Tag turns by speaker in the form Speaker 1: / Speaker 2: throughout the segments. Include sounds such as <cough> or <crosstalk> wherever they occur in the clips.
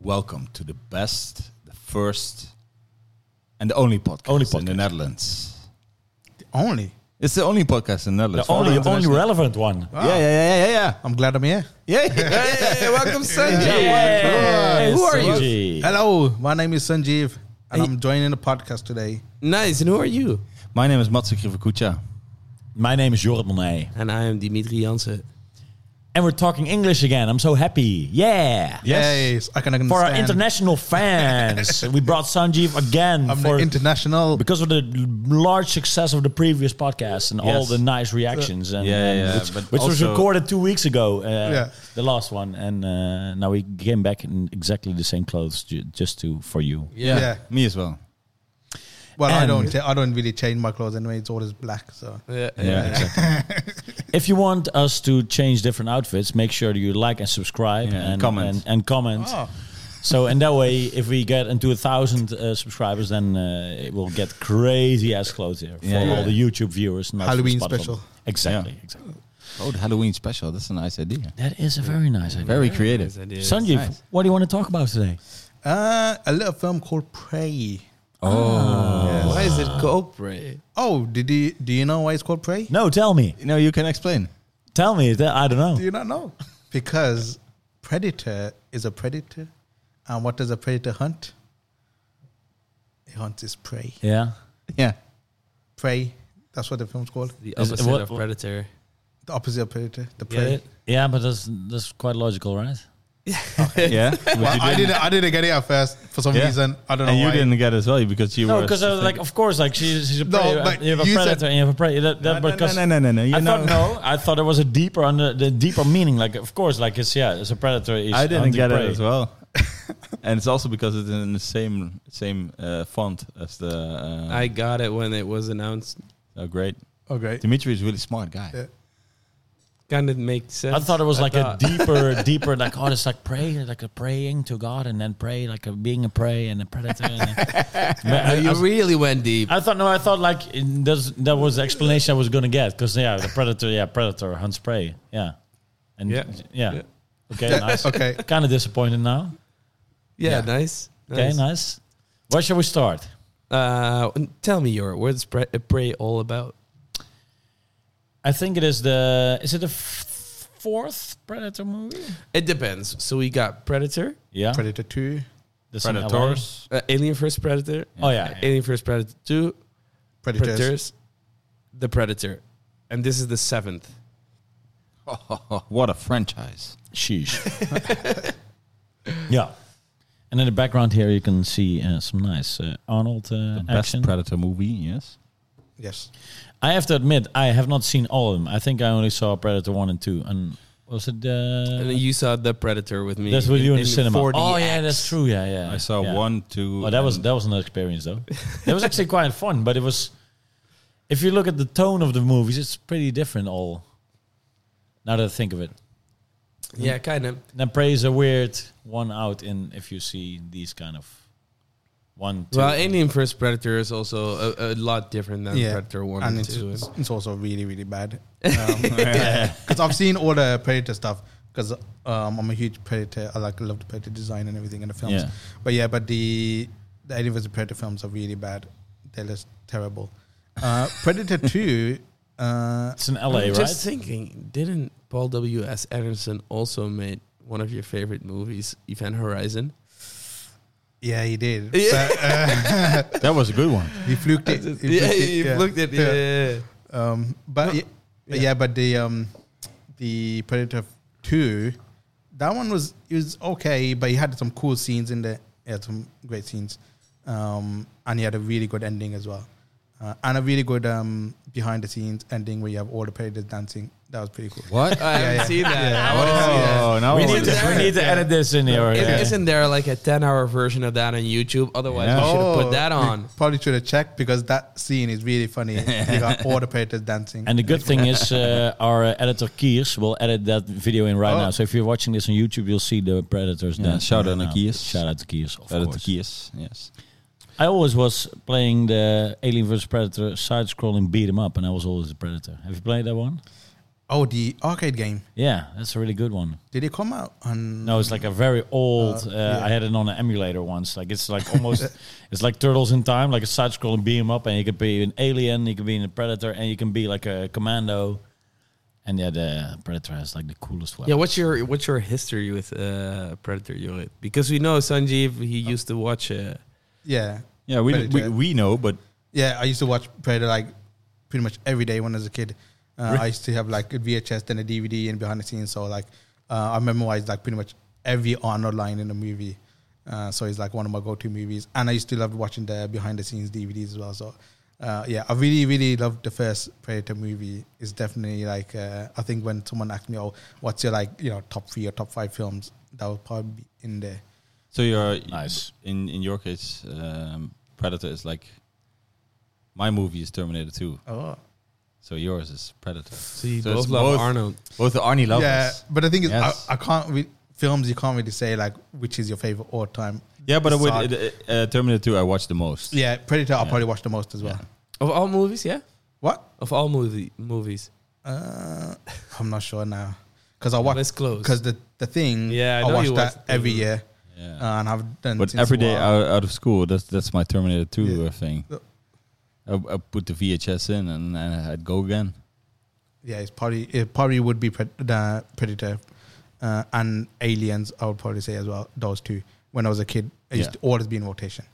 Speaker 1: Welcome to the best, the first, and the only podcast,
Speaker 2: Only
Speaker 1: in the Netherlands.
Speaker 3: Only.
Speaker 1: It's the only podcast in the Netherlands.
Speaker 2: The
Speaker 1: for all
Speaker 2: only,
Speaker 1: the
Speaker 2: only
Speaker 1: international-
Speaker 2: relevant one.
Speaker 1: Yeah, yeah, yeah, yeah,
Speaker 3: I'm glad I'm here.
Speaker 1: yeah, yeah. yeah, yeah, yeah, yeah. Welcome, Sanjay.
Speaker 2: Yes,
Speaker 1: Who are you?
Speaker 2: Sanji.
Speaker 3: Hello, my name is Sanjeev, and I'm joining the podcast today.
Speaker 4: Nice. And who are you?
Speaker 1: My name is Matsu Krivakucha.
Speaker 2: My name is Jorrit Monet.
Speaker 4: And I am Dimitri Jansen.
Speaker 2: And we're talking English again. I'm so happy. Yeah.
Speaker 3: Yes, I can understand.
Speaker 2: For our international
Speaker 1: <laughs>
Speaker 2: fans, we brought Sanjeev again
Speaker 3: I'm
Speaker 2: for
Speaker 3: the international.
Speaker 2: because of the large success of the previous podcast and all
Speaker 1: Yes.
Speaker 2: the nice reactions and,
Speaker 1: Yeah, yeah,
Speaker 2: and
Speaker 1: yeah,
Speaker 2: which,
Speaker 1: but
Speaker 2: which was
Speaker 1: also-
Speaker 2: recorded two weeks ago uh,
Speaker 3: Yeah.
Speaker 2: the last one and uh, now we came back in exactly the same clothes ju- just to for you
Speaker 3: Yeah.
Speaker 1: Me as well.
Speaker 3: Well, I
Speaker 2: And-
Speaker 3: don't. cha- I don't really change my clothes anyway. It's always black. So
Speaker 4: Yeah.
Speaker 1: Yeah, exactly.
Speaker 2: if you want us to change different outfits make sure that you like and subscribe
Speaker 1: Yeah, and
Speaker 2: and
Speaker 1: comment.
Speaker 2: and, and comment
Speaker 3: Oh.
Speaker 2: so in that way if we get into a thousand uh, subscribers then uh, it will get crazy ass clothes here for
Speaker 1: Yeah, yeah.
Speaker 2: all the youtube viewers not for
Speaker 3: Halloween
Speaker 2: Spotify.
Speaker 3: special.
Speaker 2: exactly
Speaker 1: Yeah.
Speaker 2: exactly
Speaker 1: Oh, the Halloween special. That's a nice idea.
Speaker 2: that is a very nice idea
Speaker 1: Very creative.
Speaker 2: Sanjeev,
Speaker 1: Nice.
Speaker 2: what do you want to talk about today?
Speaker 3: Uh, a little film called Prey.
Speaker 2: Oh.
Speaker 3: Ah,
Speaker 4: Why is it corporate?
Speaker 3: Oh, did you do you know why it's called Prey?
Speaker 2: No, tell me.
Speaker 1: No, you can explain.
Speaker 2: Tell me. Th- I don't
Speaker 3: Do
Speaker 2: know.
Speaker 3: you not know? Because predator is a predator, and what does a predator hunt? It hunts its prey.
Speaker 2: Yeah.
Speaker 1: Yeah.
Speaker 3: Prey. That's what the film's called.
Speaker 4: The
Speaker 2: Is it-
Speaker 4: opposite
Speaker 2: what-
Speaker 4: of predator.
Speaker 3: The opposite of predator. The
Speaker 4: Get
Speaker 3: prey.
Speaker 4: it?
Speaker 2: Yeah, but that's that's quite logical, right?
Speaker 1: Yeah.
Speaker 3: Well, I didn't. I didn't get it at first for some
Speaker 1: Yeah.
Speaker 3: reason. I don't know
Speaker 1: and you
Speaker 3: why.
Speaker 1: didn't get it as well because you
Speaker 2: No,
Speaker 1: were.
Speaker 2: because like, of course, like she's, she's a
Speaker 3: No,
Speaker 2: prey.
Speaker 3: but
Speaker 2: you have a
Speaker 3: you said-
Speaker 2: predator and you have a prey. That, that
Speaker 1: no,
Speaker 2: "Oh, because
Speaker 1: no, no, no, no. You
Speaker 2: I
Speaker 1: know,
Speaker 2: thought no. I thought it was a deeper under the deeper meaning. Like of course, like it's yeah, it's a predator. Is
Speaker 1: I didn't
Speaker 2: hunting
Speaker 1: get
Speaker 2: prey.
Speaker 1: it as well. <laughs> and it's also because it's in the same same uh, font as the. Uh,
Speaker 4: I got it when it was announced.
Speaker 1: oh, great.
Speaker 3: Oh great.
Speaker 1: Dimitri is a really smart guy.
Speaker 3: Yeah.
Speaker 4: Kind of makes sense.
Speaker 2: I thought it was like
Speaker 4: thought-
Speaker 2: a deeper, deeper, like oh, it's like pray, like a praying to God, and then pray, like a being a prey and a predator. And
Speaker 1: <laughs>
Speaker 4: No,
Speaker 2: I,
Speaker 4: Oh, you
Speaker 2: I-
Speaker 4: really went deep.
Speaker 2: I thought no, I thought like in- that's, that was the explanation I was gonna get because yeah, the predator, yeah, predator hunts prey, yeah, and yeah,
Speaker 4: Yeah.
Speaker 2: yeah.
Speaker 4: Yeah.
Speaker 2: okay, nice.
Speaker 3: <laughs>
Speaker 2: <laughs>
Speaker 3: Okay.
Speaker 2: kind of disappointed now.
Speaker 4: yeah, nice.
Speaker 2: Okay, nice. Where shall we start?
Speaker 4: Uh, n- tell me, your what's pre- uh, prey all about?
Speaker 2: I think it is the is it the f- fourth predator movie?
Speaker 4: It depends. So we got predator,
Speaker 2: Yeah,
Speaker 3: Predator two.
Speaker 2: This in LA.
Speaker 1: Predators.
Speaker 4: uh, alien first predator, Uh,
Speaker 2: Oh yeah, yeah.
Speaker 4: alien first predator two,
Speaker 3: Predators.
Speaker 4: predators. the predator, and this is the seventh.
Speaker 1: what a franchise.
Speaker 2: sheesh. yeah. And in the background here, you can see uh, some nice uh, Arnold uh,
Speaker 1: Best
Speaker 2: action.
Speaker 1: Predator movie, yes.
Speaker 3: Yes.
Speaker 2: I have to admit, I have not seen all of them. I think I only saw Predator one and two, and was it?
Speaker 4: And
Speaker 2: Uh,
Speaker 4: then you saw the predator with me.
Speaker 2: that's what you in, the
Speaker 4: the
Speaker 2: cinema.
Speaker 4: 4DX.
Speaker 2: Oh yeah, that's true. Yeah, yeah.
Speaker 1: I saw
Speaker 2: yeah.
Speaker 1: one, two.
Speaker 2: Oh, that was
Speaker 1: and-
Speaker 2: that was an experience though. that was actually quite fun, but it was. If you look at the tone of the movies, it's pretty different. All. Now that I think of it,
Speaker 4: Yeah, kind of.
Speaker 2: then Prey is a weird one out in if you see these kind of one. Two,
Speaker 4: Well, Alien First Predator is also a, a lot different than
Speaker 3: Yeah.
Speaker 4: Predator One
Speaker 3: and
Speaker 4: and,
Speaker 3: it's,
Speaker 4: Two.
Speaker 3: it's, it's also really really bad. Um, Because I've seen all the Predator stuff. Because um, I'm a huge Predator. I like love the Predator design and everything in the films.
Speaker 1: Yeah.
Speaker 3: But yeah, but the the Alien vs Predator films are really bad. They're just terrible. Uh, Predator two. Uh,
Speaker 2: it's in LA,
Speaker 4: I'm
Speaker 2: right?
Speaker 4: just thinking, didn't Paul W. S. Anderson also made one of your favorite movies, Event Horizon?
Speaker 3: yeah, he did.
Speaker 4: Yeah.
Speaker 3: But, uh,
Speaker 1: that was a good one.
Speaker 3: he fluked it. He
Speaker 4: yeah,
Speaker 3: fluked it,
Speaker 4: you've
Speaker 3: yeah.
Speaker 4: looked at
Speaker 3: Yeah.
Speaker 4: yeah.
Speaker 3: Um, but
Speaker 4: No,
Speaker 3: yeah, but yeah, but the um, the Predator Two, that one was it was okay, but he had some cool scenes in there. He had some great scenes, um, and he had a really good ending as well, uh, and a really good um, behind the scenes ending where you have all the predators dancing. That was pretty cool.
Speaker 1: <laughs> What?
Speaker 2: Oh,
Speaker 4: I haven't
Speaker 3: yeah.
Speaker 4: seen that. I want to see that.
Speaker 1: oh, now
Speaker 2: we,
Speaker 1: I
Speaker 2: need
Speaker 1: want
Speaker 2: to,
Speaker 1: to-
Speaker 2: we need to edit this in here.
Speaker 4: Is-
Speaker 2: yeah.
Speaker 4: Isn't there like a 10 hour version of that on YouTube? Otherwise,
Speaker 1: Yeah.
Speaker 4: we should have
Speaker 3: Oh,
Speaker 4: put that on.
Speaker 3: we Probably should have checked because that scene is really funny. you got all the predators dancing.
Speaker 2: And the good thing is, uh, our uh, editor Kiers will edit that video in right
Speaker 3: Oh.
Speaker 2: now. So if you're watching this on YouTube, you'll see the predators.
Speaker 1: Yeah,
Speaker 2: dancing
Speaker 1: shout
Speaker 2: right
Speaker 1: out to
Speaker 2: now.
Speaker 1: Kiers.
Speaker 2: Shout out to Kiers. Of
Speaker 1: Predator
Speaker 2: course.
Speaker 1: Keys, yes.
Speaker 2: I always was playing the Alien vs Predator side-scrolling beat 'em up, and I was always the predator. Have you played that one?
Speaker 3: Oh, the arcade game.
Speaker 2: Yeah, that's a really good one.
Speaker 3: Did it come out on?
Speaker 2: No, it's like a very old. Uh,
Speaker 3: yeah.
Speaker 2: I had it on an emulator once. Like it's like almost, it's like Turtles in Time, like a side scrolling beam up, and you could be an alien, you can be in a predator, and you can be like a commando. And yeah, the predator has like the coolest weapon.
Speaker 4: Yeah, what's your what's your history with uh, Predator Yorit? Because we know Sanjeev, he used to watch. Uh,
Speaker 3: Yeah,
Speaker 1: Yeah, we, we
Speaker 3: Predator.
Speaker 1: we know, but
Speaker 3: yeah. I used to watch Predator like pretty much every day when I was a kid. Uh, I used to have like a VHS then a DVD and behind the scenes. So like, uh, I memorized like pretty much every Arnold line in the movie. Uh, so it's like one of my go-to movies, and I used to love watching the behind-the-scenes DVDs as well. So, uh, yeah, I really, really loved the first Predator movie. It's definitely like uh, I think when someone asked me, "Oh, what's your like you know top three or top five films?" that would probably be in there.
Speaker 1: so you're
Speaker 2: Nice.
Speaker 1: in in your case, um, Predator is like my movie is Terminator 2,
Speaker 3: Oh,
Speaker 1: so yours is Predator.
Speaker 4: so you
Speaker 1: So
Speaker 4: both
Speaker 1: it's
Speaker 4: love
Speaker 1: both-
Speaker 4: Arnold.
Speaker 1: Both the Arnie lovers.
Speaker 3: yeah, but the thing is,
Speaker 1: Yes.
Speaker 3: I, I can't re- films. You can't really say like which is your favorite all time.
Speaker 1: Yeah, but I would,
Speaker 3: Sad.
Speaker 1: uh, uh, Terminator 2 I watched the most.
Speaker 3: Yeah, Predator. I
Speaker 1: Yeah.
Speaker 3: probably watch the most as well.
Speaker 1: Yeah.
Speaker 4: Of all movies, yeah,
Speaker 3: What?
Speaker 4: of all movie movies,
Speaker 3: Uh, I'm not sure now because I
Speaker 4: what
Speaker 3: watch
Speaker 4: is close?
Speaker 3: because the the thing.
Speaker 4: Yeah, I
Speaker 3: I,
Speaker 4: know
Speaker 3: watch
Speaker 4: you
Speaker 3: that
Speaker 4: watch the-
Speaker 3: every year,
Speaker 1: Yeah.
Speaker 3: uh, and I've done.
Speaker 1: but
Speaker 3: since
Speaker 1: every
Speaker 3: a
Speaker 1: day uh,
Speaker 3: while.
Speaker 1: out, out of school, that's that's my Terminator 2
Speaker 3: Yeah.
Speaker 1: uh, thing.
Speaker 3: Uh,
Speaker 1: I, I put the VHS in and, and I'd go again.
Speaker 3: yeah, it's probably it probably would be pred- uh, Predator uh, and Aliens. I would probably say as well those two. When I was a kid, it used
Speaker 1: Yeah.
Speaker 3: to always be in rotation.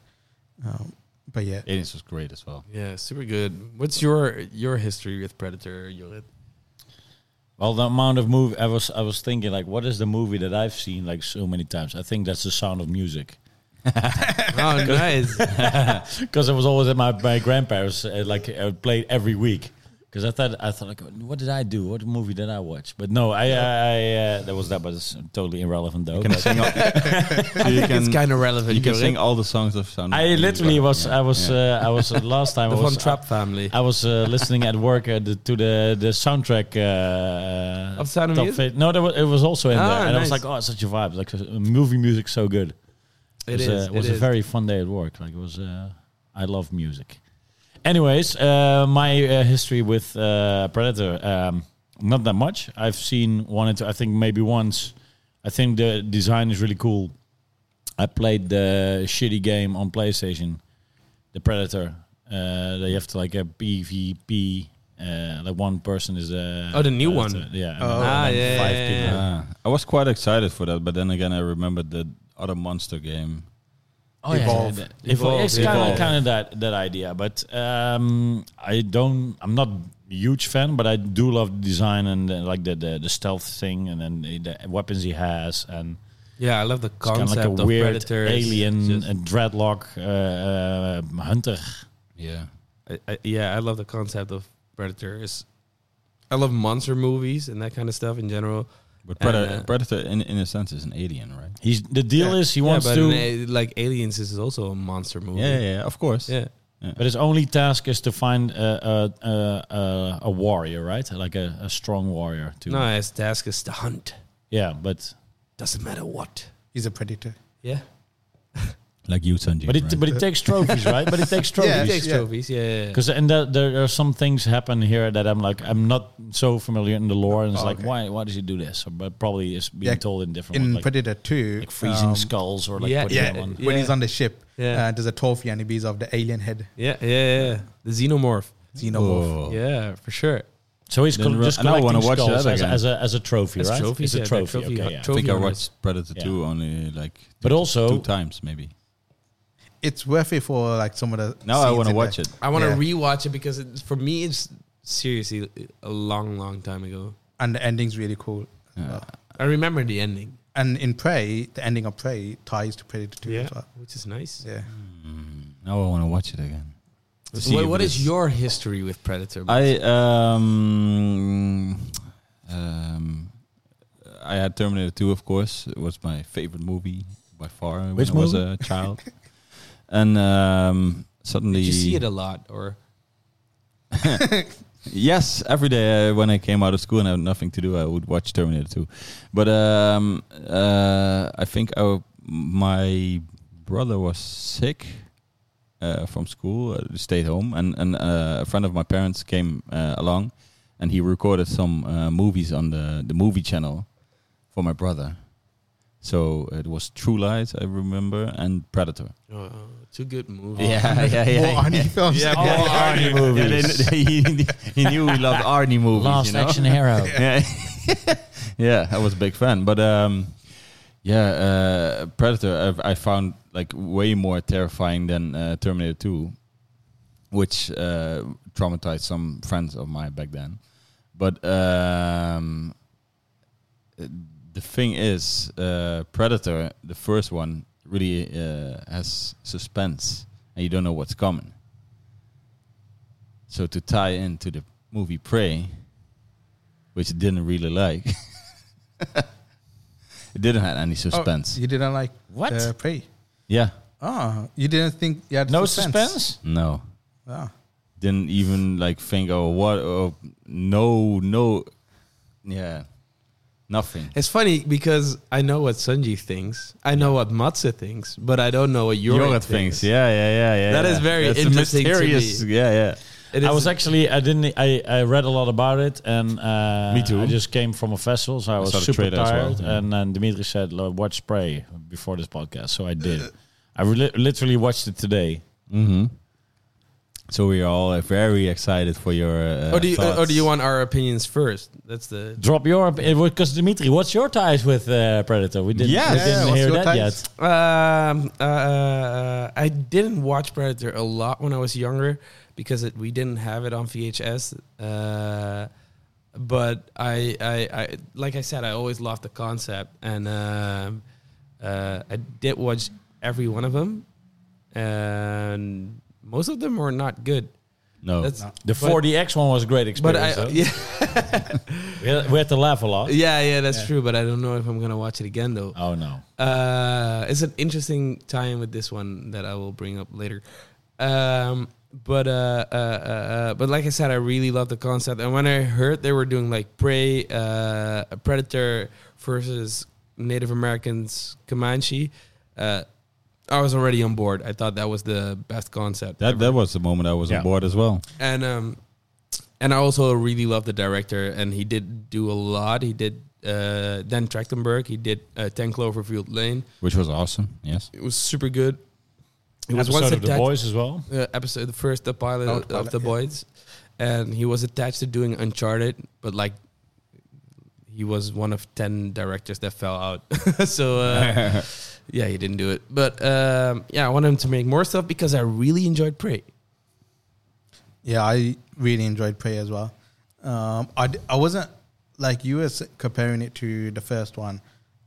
Speaker 3: Um, but yeah,
Speaker 1: Aliens was great as well.
Speaker 4: yeah, super good. What's your your history with Predator
Speaker 2: <laughs>
Speaker 4: Yorit?
Speaker 2: Well, the amount of movie I was, I was thinking like, what is the movie that I've seen like so many times? I think that's The Sound of Music.
Speaker 4: Oh, nice.
Speaker 2: because I was always at my, my grandparents. Uh, like I played every week because I thought I thought like, what did I do? What movie did I watch? But no, I uh, I uh, that was that, but it's totally irrelevant though.
Speaker 1: Can I
Speaker 2: But
Speaker 1: sing all, so <laughs> you
Speaker 4: it's
Speaker 1: can,
Speaker 4: kind of relevant.
Speaker 1: you can
Speaker 4: Jorrit.
Speaker 1: sing all the songs of Sound. of
Speaker 2: I
Speaker 1: Music.
Speaker 2: literally was I was uh, I was uh,
Speaker 4: <laughs>
Speaker 2: last time
Speaker 4: the
Speaker 2: I
Speaker 4: Von
Speaker 2: was
Speaker 4: Trapp family.
Speaker 2: I was uh, listening at work uh, the, to the the soundtrack uh,
Speaker 4: Of Sound of
Speaker 2: Top
Speaker 4: Music?
Speaker 2: Fit- No, there was, it was also in
Speaker 4: Ah,
Speaker 2: there, and I was
Speaker 4: nice.
Speaker 2: like, oh, such a vibe! Like uh, movie music, so good.
Speaker 4: it
Speaker 2: was
Speaker 4: is.
Speaker 2: A, was
Speaker 4: it
Speaker 2: a
Speaker 4: is.
Speaker 2: very fun day at work. Like it was. Uh, I love music. Anyways, uh, my uh, history with uh, Predator, um, not that much. I've seen one. Or two, I think maybe once. I think the design is really cool. I played the shitty game on PlayStation, the Predator. Uh, they have to like a PvP. Uh, like one person is a
Speaker 4: Oh, the new one.
Speaker 2: Yeah. and
Speaker 3: Oh.
Speaker 2: then
Speaker 4: Ah, yeah,
Speaker 2: five
Speaker 4: yeah,
Speaker 2: people.
Speaker 4: yeah.
Speaker 1: Ah, I was quite excited for that, but then again, I remembered the other monster game.
Speaker 2: Oh,
Speaker 3: Evolve.
Speaker 2: Yeah. Evolve. It's
Speaker 4: Evolve.
Speaker 2: kind
Speaker 1: Evolve.
Speaker 2: of kind of that that idea, but um, I don't. I'm not a huge fan, but I do love the design and uh, like the, the the stealth thing, and then the the weapons he has, and
Speaker 4: Yeah, I love the
Speaker 2: it's kind of
Speaker 4: concept
Speaker 2: like a
Speaker 4: of
Speaker 2: weird
Speaker 4: Predator. It's
Speaker 2: alien
Speaker 4: just-
Speaker 2: and dreadlock uh, uh, hunter.
Speaker 1: Yeah.
Speaker 4: I, I, yeah, I love the concept of predators. I love monster movies and that kind of stuff in general.
Speaker 1: But Predator,
Speaker 4: And, uh,
Speaker 1: Predator in, in a sense, is an alien, right?
Speaker 2: He's the deal
Speaker 3: Yeah.
Speaker 2: is he wants
Speaker 4: yeah, but
Speaker 2: to,
Speaker 4: an a- like Aliens is also a monster movie.
Speaker 1: Yeah, yeah, yeah, of course.
Speaker 4: yeah.
Speaker 2: but his only task is to find a a, a, a warrior, right? Like a, a strong warrior. To
Speaker 4: No, his task is to hunt.
Speaker 2: yeah, but
Speaker 4: Doesn't matter what.
Speaker 3: he's a predator.
Speaker 4: Yeah,
Speaker 1: Like you, Sanjay.
Speaker 2: but it but it takes trophies, right? But it takes trophies.
Speaker 3: Yeah,
Speaker 4: he takes
Speaker 3: yeah.
Speaker 4: trophies. Yeah, yeah, yeah.
Speaker 2: Because and there, there are some things happen here that I'm like I'm not so familiar in the lore, and it's
Speaker 3: Oh,
Speaker 2: like
Speaker 3: okay.
Speaker 2: why why does he do this? Or, but probably it's being
Speaker 3: Yeah,
Speaker 2: told in different
Speaker 3: In
Speaker 2: ways, like,
Speaker 3: Predator Two,
Speaker 2: like freezing
Speaker 3: um,
Speaker 2: skulls or like
Speaker 4: yeah,
Speaker 2: putting
Speaker 3: yeah,
Speaker 2: them on.
Speaker 3: when he's
Speaker 4: Yeah.
Speaker 3: on the ship,
Speaker 4: Yeah.
Speaker 3: uh, there's a trophy and it is of the alien head
Speaker 4: yeah, yeah, yeah. The xenomorph.
Speaker 3: xenomorph.
Speaker 1: Oh.
Speaker 4: Yeah, for sure.
Speaker 2: So he's
Speaker 1: Then
Speaker 2: col-
Speaker 1: we're-
Speaker 2: just
Speaker 1: and I
Speaker 2: collecting
Speaker 1: wanna watch
Speaker 2: skulls
Speaker 1: that
Speaker 2: as,
Speaker 1: again.
Speaker 2: as a as a trophy,
Speaker 4: As
Speaker 2: right?
Speaker 4: trophies,
Speaker 2: it's
Speaker 4: yeah,
Speaker 2: a
Speaker 4: like
Speaker 2: trophy.
Speaker 4: trophy
Speaker 2: okay,
Speaker 4: hunt-
Speaker 2: yeah.
Speaker 1: I think I
Speaker 4: Trophy
Speaker 1: watched Predator
Speaker 2: Yeah.
Speaker 1: 2 only like
Speaker 2: But
Speaker 1: two
Speaker 2: also,
Speaker 1: times, maybe.
Speaker 3: It's worth it for like some of the.
Speaker 1: Now I
Speaker 3: scenes
Speaker 1: want to
Speaker 3: in
Speaker 1: watch
Speaker 3: there.
Speaker 1: it.
Speaker 4: I want to
Speaker 3: Yeah.
Speaker 4: rewatch it because it, for me, it's seriously a long, long time ago.
Speaker 3: and the ending's really cool.
Speaker 1: Yeah.
Speaker 4: I remember the ending,
Speaker 3: And in Prey, the ending of Prey ties to Predator Two as well.
Speaker 4: which is nice.
Speaker 3: Yeah,
Speaker 1: Now I want to watch it again. To see
Speaker 4: What,
Speaker 1: if
Speaker 4: what
Speaker 1: it
Speaker 4: is your history with Predator?
Speaker 1: I um um I had Terminator 2 of course. It was my favorite movie by far when
Speaker 2: Which
Speaker 1: I was
Speaker 2: movie?
Speaker 1: a child. and um suddenly
Speaker 4: Did you see it a lot, or
Speaker 1: Yes, every day uh, when I came out of school and I had nothing to do, I would watch Terminator 2. But um, uh, I think I, my brother was sick uh, from school, uh, stayed home, and, and uh, a friend of my parents came uh, along and he recorded some uh, movies on the the movie channel for my brother. So it was True Lies, I remember, and Predator.
Speaker 4: Oh, two good movies.
Speaker 1: <laughs> Yeah, yeah, <laughs> yeah.
Speaker 3: More Arnie films.
Speaker 1: Yeah,
Speaker 2: <laughs> All
Speaker 1: yeah,
Speaker 2: Arnie movies.
Speaker 1: Yeah, <laughs> he, he knew he loved Arnie movies.
Speaker 2: Last
Speaker 1: you know?
Speaker 2: action
Speaker 1: <laughs>
Speaker 2: hero.
Speaker 1: yeah, <laughs> yeah, I was a big fan. But um, yeah, uh, Predator I, I found like way more terrifying than uh, Terminator Two, which uh, traumatized some friends of mine back then. But um, the thing is, uh, Predator, the first one, really uh, has suspense, and you don't know what's coming. So to tie into the movie Prey, which I didn't really like, <laughs> it didn't have any
Speaker 3: Oh,
Speaker 1: suspense.
Speaker 3: you didn't like
Speaker 2: What?
Speaker 3: Uh, Prey.
Speaker 1: yeah,
Speaker 3: Oh, you didn't think you had
Speaker 2: no
Speaker 3: suspense?
Speaker 2: suspense.
Speaker 1: no,
Speaker 3: Ah.
Speaker 1: didn't even like think, oh what, oh no, no, yeah, nothing.
Speaker 4: It's funny because I know what Sanji thinks. I know what Matze thinks, but I don't know what Jorrit,
Speaker 1: Jorrit
Speaker 4: thinks.
Speaker 1: thinks, yeah, yeah, yeah, yeah.
Speaker 4: That
Speaker 1: yeah.
Speaker 4: is very
Speaker 1: That's a
Speaker 4: interesting to
Speaker 1: mysterious-
Speaker 4: me.
Speaker 1: Yeah, yeah.
Speaker 4: It
Speaker 2: I
Speaker 4: is-
Speaker 2: was actually I didn't I, I read a lot about it and uh,
Speaker 1: Me too.
Speaker 2: I just came from a festival, so I was
Speaker 1: saw the
Speaker 2: super
Speaker 1: trailer as well,
Speaker 2: tired.
Speaker 1: yeah.
Speaker 2: And then Dimitri said, "Lo- "Watch Spray before this podcast," so I did.
Speaker 4: Uh,
Speaker 2: I re- literally watched it today.
Speaker 1: Mm-hmm. So we are all uh, very excited for your. Uh,
Speaker 4: Or do you,
Speaker 1: thoughts.
Speaker 4: or do you want our opinions first? That's the.
Speaker 2: Drop your because Dimitri, what's your ties with uh, Predator? We didn't,
Speaker 1: Yes.
Speaker 2: we
Speaker 1: Yeah,
Speaker 2: didn't
Speaker 3: what's
Speaker 2: hear
Speaker 3: your
Speaker 2: that
Speaker 3: ties?
Speaker 2: yet.
Speaker 4: Um, uh, I didn't watch Predator a lot when I was younger because it, we didn't have it on VHS. Uh, but I, I, I, like I said, I always loved the concept, and um, uh, I did watch every one of them, and most of them were not good.
Speaker 1: No.
Speaker 4: That's
Speaker 2: The
Speaker 4: But-
Speaker 2: 4DX one was a great
Speaker 4: but
Speaker 2: experience.
Speaker 4: I,
Speaker 2: though.
Speaker 4: yeah,
Speaker 2: we, had, we had to laugh a lot.
Speaker 4: yeah, <laughs> yeah, that's true. But I don't know if I'm gonna watch it again though.
Speaker 2: Oh no!
Speaker 4: Uh, it's an interesting tie-in with this one that I will bring up later. Um, but uh, uh, uh, uh, but like I said, I really love the concept. And when I heard they were doing like prey, uh, a predator versus Native Americans, Comanche, uh, I was already on board. I thought that was the best concept.
Speaker 1: that that was the moment I was
Speaker 2: Yeah.
Speaker 1: on board as well.
Speaker 4: and um, and I also really love the director, and he did do a lot. He did uh, Dan Trachtenberg. He did uh, Ten Cloverfield Lane.
Speaker 1: Which was awesome. Yes.
Speaker 4: It was super good. It was
Speaker 2: Episode
Speaker 4: once
Speaker 2: of the
Speaker 4: attached-
Speaker 2: boys as well.
Speaker 4: Uh, episode the first the pilot
Speaker 3: Oh,
Speaker 4: of
Speaker 3: the pilot,
Speaker 4: the
Speaker 3: yeah.
Speaker 4: boys, and he was attached to doing Uncharted, but like he was one of ten directors that fell out. <laughs>
Speaker 2: <laughs>
Speaker 4: so uh, yeah, he didn't do it. But um, yeah, I want him to make more stuff because I really enjoyed Prey.
Speaker 3: Yeah, I really enjoyed Prey as well. Um, I, d- I wasn't like you were s- comparing it to the first one,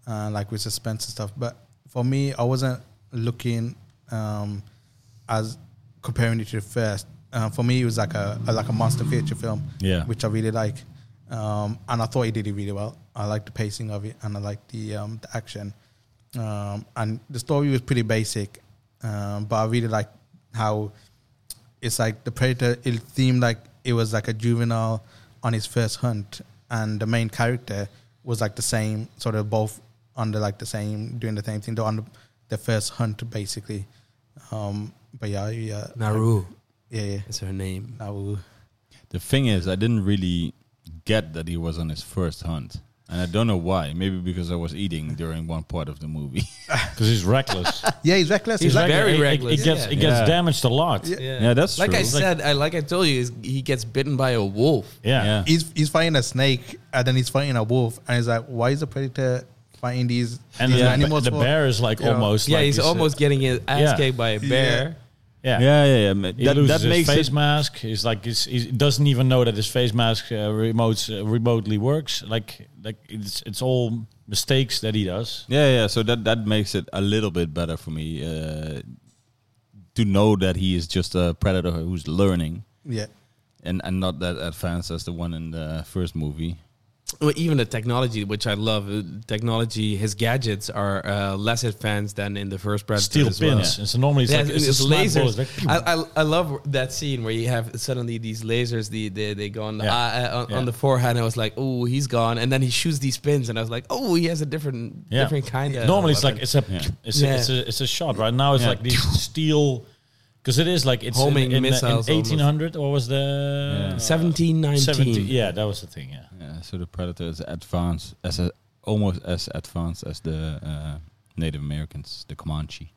Speaker 3: uh, like with suspense and stuff. But for me, I wasn't looking um, as comparing it to the first. Uh, for me, it was like a, a- like a monster feature film,
Speaker 1: Yeah.
Speaker 3: which I really like, um, and I thought he did it really well. I liked the pacing of it, and I liked the um, the action, um, and the story was pretty basic, um, but I really liked how it's like the predator it seemed like it was like a juvenile on his first hunt and the main character was like the same sort of both under like the same doing the same thing they're on the, their first hunt basically um but yeah yeah
Speaker 4: Naru
Speaker 3: yeah yeah
Speaker 4: is her name.
Speaker 3: Naru.
Speaker 1: The thing is, I didn't really get that he was on his first hunt, and I don't know why. Maybe because I was eating during one part of the movie.
Speaker 2: Because he's reckless.
Speaker 3: yeah he's reckless
Speaker 4: <laughs> He's
Speaker 3: he's, like
Speaker 4: very
Speaker 2: It- it-
Speaker 4: reckless.
Speaker 2: It, gets it gets
Speaker 1: Yeah.
Speaker 2: damaged a lot.
Speaker 3: Yeah.
Speaker 1: Yeah, that's
Speaker 4: like
Speaker 1: true.
Speaker 4: I
Speaker 1: Like-
Speaker 4: said. I like I told you, is he gets bitten by a wolf.
Speaker 2: Yeah.
Speaker 1: Yeah.
Speaker 3: he's he's fighting a snake and then he's fighting a wolf and he's like why is the predator fighting these
Speaker 2: And
Speaker 3: these
Speaker 2: the,
Speaker 3: animals
Speaker 2: the
Speaker 3: for?
Speaker 2: bear is like
Speaker 3: Yeah.
Speaker 2: almost.
Speaker 4: yeah,
Speaker 2: like
Speaker 4: he's almost getting his ass
Speaker 2: Yeah.
Speaker 4: kicked by a bear.
Speaker 2: yeah.
Speaker 1: <laughs> yeah, yeah, yeah. ma-
Speaker 2: He
Speaker 1: That,
Speaker 2: loses
Speaker 1: that makes
Speaker 2: his face
Speaker 1: it.
Speaker 2: mask. He's like he's, he doesn't even know that his face mask uh, remotes uh, remotely works. Like like it's it's all mistakes that he does.
Speaker 1: Yeah, yeah. So that that makes it a little bit better for me uh, to know that he is just a predator who's learning
Speaker 3: yeah
Speaker 1: and and not that advanced as the one in the first movie.
Speaker 4: Well, even the technology, which I love, uh, technology, his gadgets are uh, less advanced than in the first Predator.
Speaker 2: Steel
Speaker 4: as
Speaker 2: pins.
Speaker 4: well.
Speaker 2: And so normally it's
Speaker 4: Yeah,
Speaker 2: like
Speaker 4: it's,
Speaker 2: it's, a snap
Speaker 4: lasers.
Speaker 2: bullet, like, pew.
Speaker 4: I, I I love that scene where you have suddenly these lasers. The, they they go on the
Speaker 2: Yeah.
Speaker 4: eye- uh, on,
Speaker 2: Yeah.
Speaker 4: on the forehead. And I was like, oh, he's gone. And then he shoots these pins, and I was like, oh, he has a different
Speaker 2: Yeah.
Speaker 4: different kind of.
Speaker 2: normally it's
Speaker 4: weapon.
Speaker 2: like it's a
Speaker 1: Yeah.
Speaker 2: it's,
Speaker 4: Yeah.
Speaker 2: a, it's a it's a shot. Right now it's
Speaker 1: Yeah.
Speaker 2: like these steel Because it is like it's
Speaker 4: Homing
Speaker 2: in, in, the- in
Speaker 4: missiles almost.
Speaker 2: 1800 or was the
Speaker 4: Uh,
Speaker 1: Yeah.
Speaker 4: 1719.
Speaker 2: yeah, that was the thing. Yeah,
Speaker 4: <laughs>
Speaker 1: Yeah, Uh, so the predator is advanced as a, almost as advanced as the uh, Native Americans, the Comanche.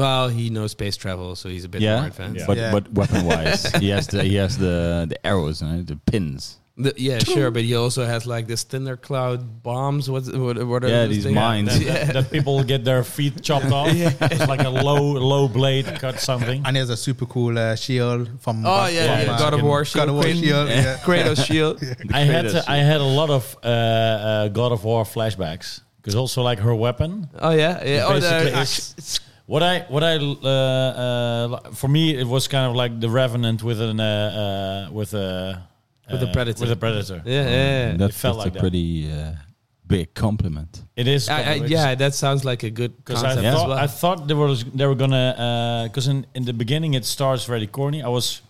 Speaker 4: Well, he knows space travel, so he's a bit
Speaker 1: Yeah.
Speaker 4: more advanced.
Speaker 2: Yeah.
Speaker 1: But
Speaker 3: Yeah.
Speaker 1: but weapon wise,
Speaker 3: <laughs>
Speaker 1: he has the he has the the arrows and the pins.
Speaker 4: The- yeah, sure, but he also has like this thinner cloud bombs. What's, what, what are
Speaker 1: Yeah,
Speaker 4: those
Speaker 1: these
Speaker 4: things?
Speaker 1: mines.
Speaker 2: That, that- that people get their feet
Speaker 4: <laughs>
Speaker 2: chopped off. It's like a low low blade cut something.
Speaker 3: And there's a super cool uh, shield from
Speaker 4: Oh yeah, yeah,
Speaker 2: Yeah,
Speaker 3: from, uh,
Speaker 4: God of War shield,
Speaker 3: God of War
Speaker 4: Kratos-
Speaker 3: shield. <laughs> Yeah.
Speaker 4: Kratos shield.
Speaker 2: I had
Speaker 1: Kratos,
Speaker 2: I had a lot of uh, uh, God of War flashbacks because also like her weapon.
Speaker 4: Oh yeah, yeah. Oh,
Speaker 2: Basically,
Speaker 4: the,
Speaker 2: it's- What I what I uh, uh, for me it was kind of like the Revenant with an uh, uh, with a
Speaker 4: With a
Speaker 2: uh,
Speaker 4: predator.
Speaker 2: with a predator.
Speaker 4: yeah, yeah.
Speaker 1: Mm, That's,
Speaker 2: felt
Speaker 1: that's
Speaker 2: like
Speaker 1: a
Speaker 2: that.
Speaker 1: pretty uh, big compliment.
Speaker 2: It is
Speaker 4: I, I,
Speaker 2: kind of-
Speaker 4: yeah, that sounds like a good
Speaker 2: Because
Speaker 4: concept
Speaker 2: I
Speaker 4: as
Speaker 2: thought
Speaker 4: well.
Speaker 2: I thought there was they were gonna because in in the beginning it starts very corny. I was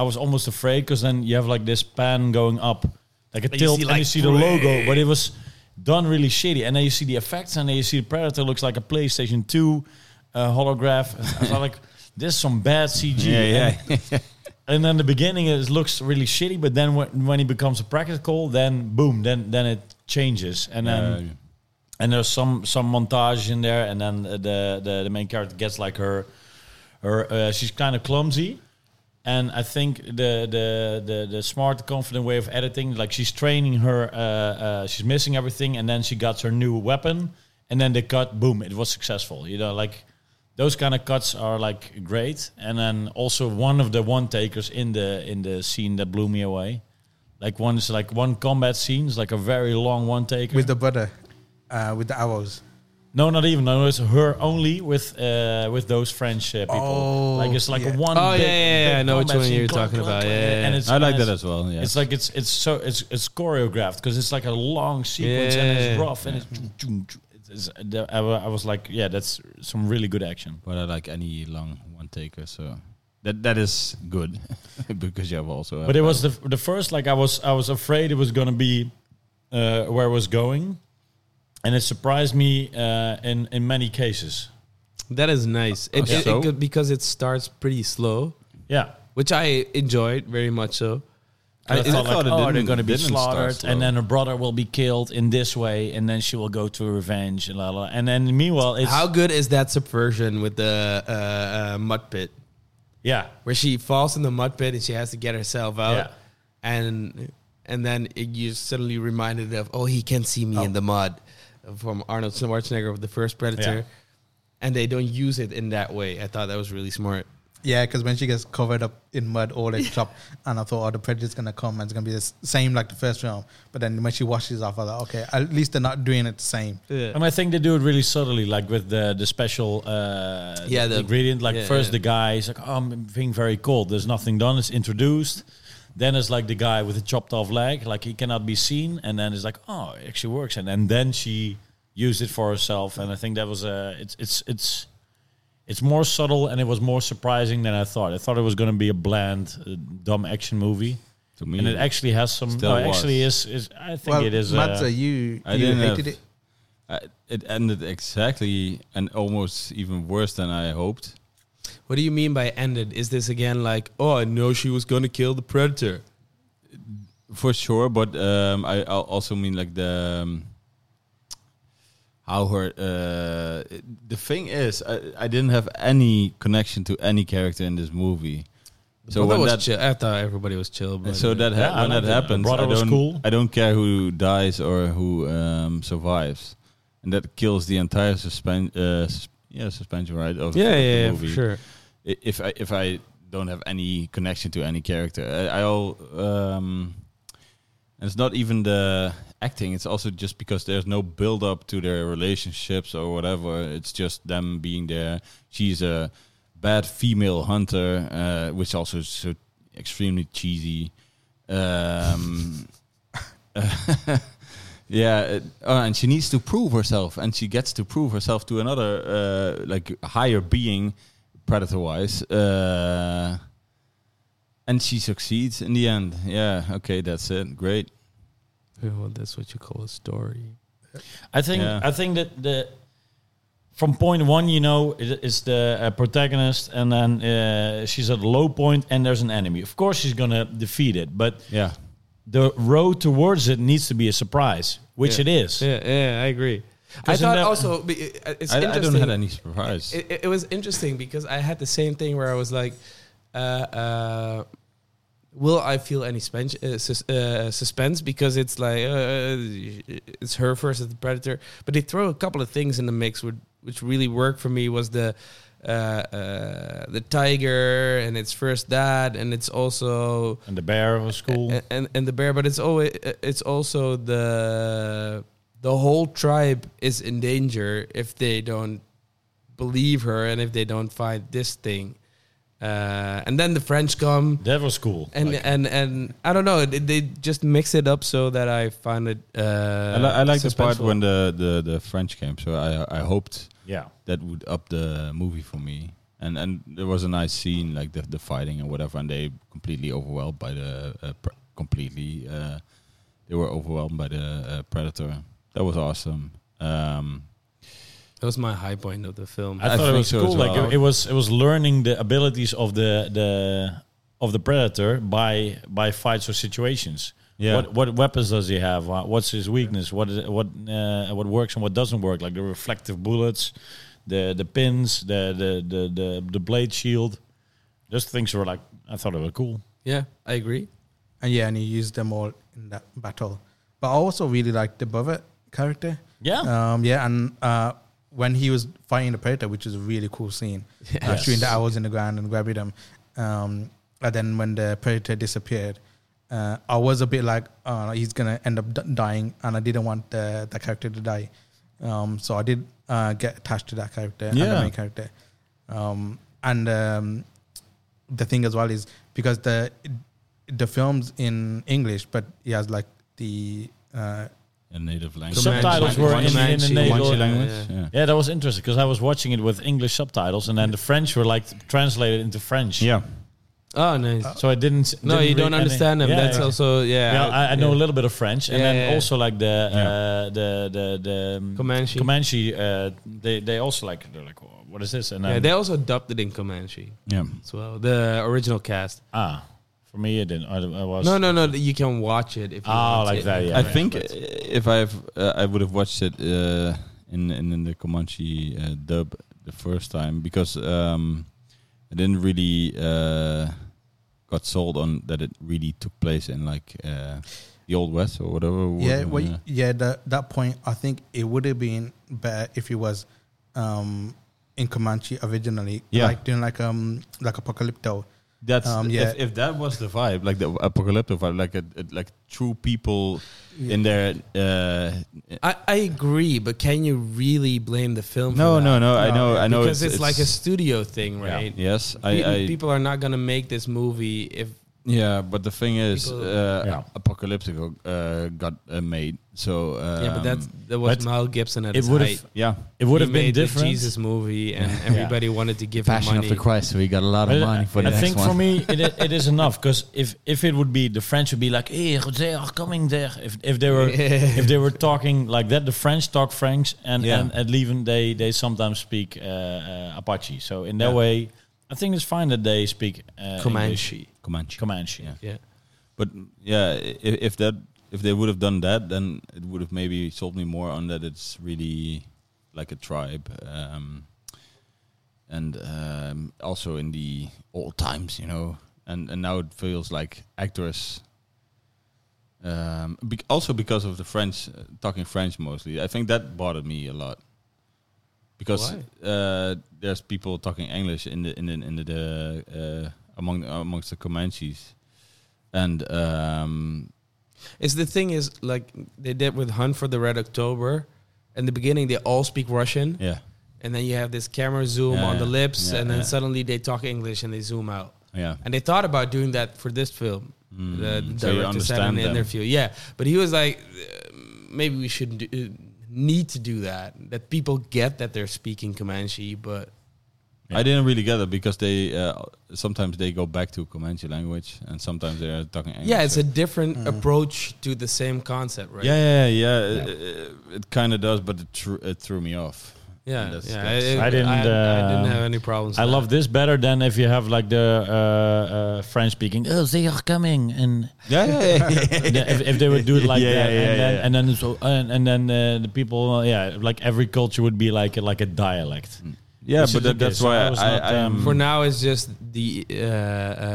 Speaker 2: I was almost afraid because then you have like this pan going up like a
Speaker 4: you
Speaker 2: tilt
Speaker 4: see,
Speaker 2: and you
Speaker 4: like,
Speaker 2: see the logo, but it was done really shitty. And then you see the effects and then you see the Predator looks like a PlayStation Two uh, holograph. <laughs> I was like, this is some bad CG. And, and then the beginning is looks really shitty, but then when, when he becomes a practical, then boom, then then it changes and then
Speaker 1: Uh,
Speaker 2: and there's some some montage in there and then uh, the the, the main character gets like her her uh, she's kind of clumsy and i think the, the the the smart confident way of editing like she's training her uh, uh, she's missing everything and then she got her new weapon and then they cut boom it was successful you know like those kind of cuts are like great and then also one of the one takers in the in the scene that blew me away like one is like one combat scene is like a very long one taker
Speaker 3: With the brother, uh, with the arrows.
Speaker 2: no, not even. No, it's her only with uh, with those French uh, people.
Speaker 3: Oh,
Speaker 2: like it's like
Speaker 3: yeah.
Speaker 2: one.
Speaker 4: Oh,
Speaker 2: big,
Speaker 4: yeah, yeah, yeah,
Speaker 2: big
Speaker 4: I know which
Speaker 2: combat
Speaker 4: one
Speaker 2: scene,
Speaker 4: you're
Speaker 2: clack,
Speaker 4: talking
Speaker 2: clack,
Speaker 4: about,
Speaker 2: clack,
Speaker 4: yeah, yeah,
Speaker 2: and it's
Speaker 1: I like
Speaker 2: and
Speaker 1: that as well. Yeah,
Speaker 2: It's like it's it's so it's it's choreographed because it's like a long sequence and
Speaker 4: Yeah.
Speaker 2: it's rough and it's. choom, choom, choom. It's- it's- the- I wa- I was like, yeah, that's some really good action.
Speaker 1: but I like any long one taker, so that that is good <laughs> because you have also. have
Speaker 2: But it was the the first like I was I was afraid it was gonna be uh, where it was going, and it surprised me uh, in in many cases.
Speaker 4: that is nice. It,
Speaker 1: Okay.
Speaker 4: it- it
Speaker 1: So-
Speaker 4: could- because it starts pretty slow,
Speaker 2: Yeah,
Speaker 4: which I enjoyed very much. So
Speaker 2: I,
Speaker 1: I
Speaker 2: thought,
Speaker 1: thought
Speaker 2: like,
Speaker 1: it
Speaker 2: oh, they're
Speaker 1: didn't-
Speaker 2: going to be
Speaker 1: didn't start
Speaker 2: slaughtered,
Speaker 1: slow.
Speaker 2: and then her brother will be killed in this way, and then she will go to revenge, and la, la, la. and then meanwhile, it's
Speaker 4: how good is that subversion with the uh, uh, mud pit
Speaker 2: yeah,
Speaker 4: where she falls in the mud pit and she has to get herself out,
Speaker 2: Yeah.
Speaker 4: and and then it, you're suddenly reminded of oh he can see me in the mud from Arnold Schwarzenegger with the first Predator,
Speaker 2: Yeah.
Speaker 4: and they don't use it in that way. I thought that was really smart.
Speaker 3: Yeah, because when she gets covered up in mud all the top,
Speaker 2: <laughs>
Speaker 3: and I thought, oh, the predator's gonna come and it's gonna be the s- same like the first film. But then when she washes off, I was like, okay, at least they're not doing it the same.
Speaker 2: And I think they do it really subtly, like with the the special uh,
Speaker 4: Yeah, the-
Speaker 2: ingredient. Like
Speaker 4: yeah,
Speaker 2: first
Speaker 4: yeah.
Speaker 2: the guy is like, oh, I'm being very cold. There's nothing done. It's introduced. Then it's like the guy with the chopped off leg, like he cannot be seen. And then it's like, oh, it actually works. And, and then she used it for herself. And I think that was a it's it's it's it's more subtle and it was more surprising than I thought. I thought it was going to be a bland, uh, dumb action movie.
Speaker 1: to me.
Speaker 2: And it actually has some.
Speaker 1: Still
Speaker 2: No, it
Speaker 1: was.
Speaker 2: actually is. is I think
Speaker 3: well,
Speaker 2: it is.
Speaker 3: Mads,
Speaker 2: uh,
Speaker 3: you
Speaker 1: I
Speaker 3: you
Speaker 1: didn't
Speaker 3: hated
Speaker 1: have-
Speaker 3: it.
Speaker 1: I, it ended exactly and almost even worse than I hoped.
Speaker 4: What do you mean by ended? Is this again like, oh, I know she was gonna kill the predator?
Speaker 1: for sure but um i I also mean like the um, how her uh it- the thing is I, I didn't have any connection to any character in this movie so
Speaker 4: Well, that
Speaker 1: when
Speaker 4: was
Speaker 1: that
Speaker 4: chill. I thought everybody was chill, but
Speaker 1: so that ha-
Speaker 2: Yeah, I
Speaker 1: when
Speaker 2: liked
Speaker 1: that
Speaker 2: it.
Speaker 1: happens
Speaker 2: Brother
Speaker 1: I
Speaker 2: was
Speaker 1: don't
Speaker 2: cool.
Speaker 1: I don't care who dies or who um survives and that kills the entire suspense uh, sus- yeah suspension right of, of
Speaker 4: yeah,
Speaker 1: the
Speaker 4: yeah, yeah, for
Speaker 1: movie
Speaker 4: sure.
Speaker 1: i- if I if I don't have any connection to any character, I, I'll. Um, and it's not even the acting; it's also just because there's no build up to their relationships or whatever. It's just them being there. She's a bad female hunter, uh, which also is so extremely cheesy. Um, <laughs> yeah, it, oh, and she needs to prove herself, and she gets to prove herself to another uh, like higher being, predator wise. Uh, and she succeeds in the end. Yeah, okay, that's it. Great.
Speaker 4: Yeah, well, that's what you call a story.
Speaker 2: I think
Speaker 1: Yeah.
Speaker 2: I think that the from point one, you know, it is the uh, protagonist, and then uh, she's at a low point, and there's an enemy. Of course, she's gonna defeat it, but
Speaker 1: Yeah.
Speaker 2: the road towards it needs to be a surprise, which
Speaker 4: Yeah.
Speaker 2: it is.
Speaker 4: Yeah, yeah, I agree. I
Speaker 2: 'Cause in
Speaker 4: thought
Speaker 2: that-
Speaker 4: also be- it- it's
Speaker 1: I, I
Speaker 4: interesting.
Speaker 1: don't have any surprise.
Speaker 4: it, it- it was interesting because I had the same thing where I was like, uh, uh, "Will I feel any spen- uh, sus- uh, suspense?" Because it's like uh, it's her versus the predator. But they throw a couple of things in the mix, which, which really worked for me was the uh, uh, the tiger and it's first that, and it's also
Speaker 2: And the bear was cool.
Speaker 4: a- and and the bear, but it's always it's also the the whole tribe is in danger if they don't believe her and if they don't find this thing. Uh, and then the French come,
Speaker 2: that was cool.
Speaker 4: and
Speaker 2: Like,
Speaker 4: and and I don't know, they, they just mix it up so that I find it. Uh,
Speaker 1: I, li- I like the part
Speaker 4: suspenseful.
Speaker 1: when the, the, the French came, so I I hoped
Speaker 2: yeah.
Speaker 1: that would up the movie for me. And and there was a nice scene like the the fighting and whatever, and they completely overwhelmed by the uh, pr- completely uh, they were overwhelmed by the uh, predator. That was awesome. Um,
Speaker 4: that was my high point of the film.
Speaker 2: I,
Speaker 1: I
Speaker 2: thought it
Speaker 1: think
Speaker 2: was
Speaker 1: so as
Speaker 2: cool. Like
Speaker 1: well.
Speaker 2: it, it was, it was learning the abilities of the the of the predator by by fights or situations.
Speaker 1: Yeah.
Speaker 2: What what weapons does he have? Wha- What's his weakness? What is, what uh, what works and what doesn't work? Like the reflective bullets, the the pins, the the the the, the blade shield. Those things were like I thought they were cool.
Speaker 4: yeah, I agree.
Speaker 3: and yeah, and he used them all in that battle. But I also really liked the Buffett character.
Speaker 2: Yeah.
Speaker 3: Um, yeah, and uh, when he was fighting the predator, which is a really cool scene, uh,
Speaker 2: Yes.
Speaker 3: shooting the arrows in the ground and grabbing them. Um, and then when the predator disappeared, uh, I was a bit like, uh, he's gonna end up d- dying, and I didn't want the, the character to die. Um, so I did uh, get attached to that character and
Speaker 1: Yeah.
Speaker 3: the main character. Um, and um, the thing as well is because the the film's in English, but he has like the uh,
Speaker 1: in native language.
Speaker 2: Subtitles were in, in the
Speaker 4: Comanche.
Speaker 2: native
Speaker 1: Comanche
Speaker 4: Yeah,
Speaker 1: language.
Speaker 4: yeah.
Speaker 1: Yeah.
Speaker 2: Yeah, that was interesting because I was watching it with English subtitles, and then the French were like translated into French.
Speaker 1: yeah.
Speaker 4: Oh, nice.
Speaker 2: So I Uh, didn't. didn't
Speaker 4: no, you
Speaker 2: read
Speaker 4: don't
Speaker 2: any-
Speaker 4: understand them.
Speaker 2: Yeah,
Speaker 4: That's
Speaker 2: yeah.
Speaker 4: also yeah.
Speaker 2: Well, I, I know a
Speaker 4: yeah.
Speaker 2: little bit of French, and
Speaker 4: Yeah,
Speaker 2: then
Speaker 4: yeah, yeah.
Speaker 2: also like the
Speaker 1: Yeah.
Speaker 2: uh, the the the um,
Speaker 4: Comanche.
Speaker 2: Comanche, uh, they they also like they're like "Wha- what is this? And
Speaker 4: Yeah,
Speaker 2: then,
Speaker 4: they also dubbed it in Comanche
Speaker 1: Yeah.
Speaker 4: as well. The original cast.
Speaker 2: ah, for me it didn't. I, I was
Speaker 4: No, no, no. You can watch it if you
Speaker 2: Ah,
Speaker 4: want
Speaker 2: like
Speaker 4: to.
Speaker 2: that, yeah.
Speaker 1: I think uh, if I've uh, I would have watched it uh, in, in in the Comanche uh, dub the first time because um, I didn't really uh, got sold on that it really took place in like uh, the old west or whatever.
Speaker 3: yeah,
Speaker 1: What-
Speaker 3: well,
Speaker 1: uh,
Speaker 3: yeah. The, that point, I think it would have been better if it was um, in Comanche originally,
Speaker 1: Yeah.
Speaker 3: like doing like um like Apocalypto.
Speaker 1: That's
Speaker 3: Um,
Speaker 1: yeah.
Speaker 3: yeah.
Speaker 1: if, if that was the vibe, like the apocalyptic vibe, like a, a- like true people in their. Uh,
Speaker 4: I, I agree, but can you really blame the film? for
Speaker 1: no,
Speaker 4: that?
Speaker 1: no, no, I know, I know.
Speaker 4: Because it's, like a studio thing, right?
Speaker 1: yes.
Speaker 4: Pe-
Speaker 1: I, I
Speaker 4: people are not gonna make this movie if
Speaker 1: yeah, but the thing is,
Speaker 4: People-
Speaker 1: uh,
Speaker 2: Yeah.
Speaker 1: apocalyptico uh, got uh, made. So um,
Speaker 4: yeah. But that's that was
Speaker 2: but
Speaker 4: Mel Gibson at
Speaker 2: It
Speaker 4: his
Speaker 2: would
Speaker 4: height.
Speaker 2: have
Speaker 1: yeah.
Speaker 2: it would
Speaker 4: He
Speaker 2: have been
Speaker 4: made the
Speaker 2: different.
Speaker 4: Jesus movie, and everybody wanted to give him money.
Speaker 1: Christ. So he got a lot
Speaker 2: But I think for me,
Speaker 4: <laughs>
Speaker 2: it, i- it is enough because if if it would be the French would be like, "Hey, they are coming there." If if they were if they were talking like that, the French talk French, and
Speaker 1: Yeah.
Speaker 2: and at Leven they they sometimes speak uh, uh, Apache. So in that way, I think it's fine that they speak uh, English.
Speaker 4: Comanche.
Speaker 1: Comanche.
Speaker 2: Comanche.
Speaker 1: Yeah.
Speaker 4: Yeah.
Speaker 1: But yeah, if, if that if they would have done that, then it would have maybe sold me more on that it's really like a tribe, um, and um, also in the old times, you know. And and now it feels like actors. Um, bec also because of the French uh, talking French mostly, I think that bothered me a lot. Because uh, there's people talking English in the in the, in the, the uh, among amongst the Comanches, and um,
Speaker 4: It's the thing is like they did with Hunt for the Red October. In the beginning, they all speak Russian,
Speaker 1: yeah,
Speaker 4: and then you have this camera zoom
Speaker 1: Yeah,
Speaker 4: on the
Speaker 1: yeah.
Speaker 4: lips,
Speaker 1: Yeah,
Speaker 4: and then
Speaker 1: yeah.
Speaker 4: suddenly they talk English and they zoom out.
Speaker 1: yeah,
Speaker 4: And they thought about doing that for this film. The
Speaker 1: Mm, so you
Speaker 4: director said in
Speaker 1: understand
Speaker 4: the
Speaker 1: them.
Speaker 4: interview, yeah. But he was like, uh, maybe we shouldn't do, need to do that. That people get that they're speaking Comanche, but
Speaker 1: I didn't really get it because they uh, sometimes they go back to Comanche language and sometimes they're talking English.
Speaker 4: yeah, it's a different approach to the same concept, right?
Speaker 1: yeah, yeah, yeah. It, it kind of does, but it, thr- it threw me off. And
Speaker 4: Yeah,
Speaker 1: that's-
Speaker 4: yeah.
Speaker 1: that's- uh,
Speaker 2: I didn't,
Speaker 4: I, I
Speaker 2: um,
Speaker 4: didn't have any problems.
Speaker 2: I
Speaker 4: with
Speaker 2: love this better than if you have like the uh, uh, French speaking. Oh, they are coming, and
Speaker 1: Yeah, yeah,
Speaker 2: <laughs>
Speaker 1: yeah.
Speaker 2: the- if, if they would do it
Speaker 1: <laughs>
Speaker 2: like
Speaker 1: Yeah,
Speaker 2: that,
Speaker 1: yeah,
Speaker 2: and, then,
Speaker 1: yeah.
Speaker 2: and then so and, and then uh, the people, uh, yeah, like every culture would be like like a dialect.
Speaker 1: Mm, yeah
Speaker 2: Which
Speaker 1: but
Speaker 2: is
Speaker 1: that,
Speaker 2: okay,
Speaker 1: that's
Speaker 2: so
Speaker 1: why
Speaker 2: I
Speaker 1: I,
Speaker 2: was
Speaker 1: I,
Speaker 2: not, um,
Speaker 1: am.
Speaker 4: For now, it's just the uh, uh,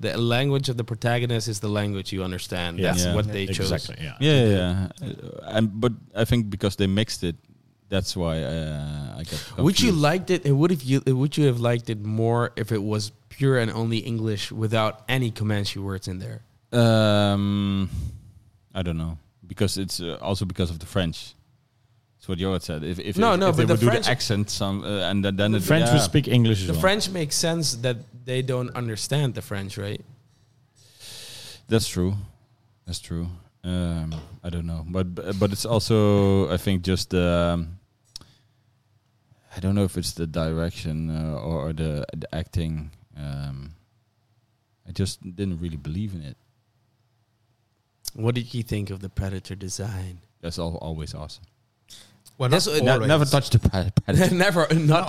Speaker 4: the language of the protagonist is the language you understand.
Speaker 2: Yeah.
Speaker 4: That's
Speaker 1: Yeah.
Speaker 4: what they chose.
Speaker 2: Exactly. Yeah.
Speaker 1: yeah, yeah, yeah. Uh, and but I think because they mixed it, that's why uh, I got. Confused.
Speaker 4: Would you liked it? Would if you would you have liked it more if it was pure and only English without any Comanche words in there?
Speaker 1: Um, I don't know because it's uh, also because of the French. That's what Jorrit said. If if
Speaker 4: No,
Speaker 1: if,
Speaker 4: no,
Speaker 1: if they
Speaker 4: but
Speaker 1: would
Speaker 4: the
Speaker 1: do
Speaker 4: French-
Speaker 1: the accent some uh, and then, then
Speaker 2: The
Speaker 1: it,
Speaker 2: French
Speaker 1: yeah.
Speaker 2: would speak English as
Speaker 4: The
Speaker 2: well.
Speaker 4: French makes sense that they don't understand the French, right?
Speaker 1: That's true. That's true. Um, I don't know, but bu- but it's also I think just um, I don't know if it's the direction uh, or the the acting. Um, I just didn't really believe in it.
Speaker 4: What did you think of the Predator design?
Speaker 1: That's all, always awesome.
Speaker 3: Well,
Speaker 4: That's
Speaker 3: not
Speaker 4: what-
Speaker 1: Ne-
Speaker 3: always,
Speaker 1: never touched the
Speaker 3: <laughs>
Speaker 1: predator.
Speaker 4: <laughs> Never, not,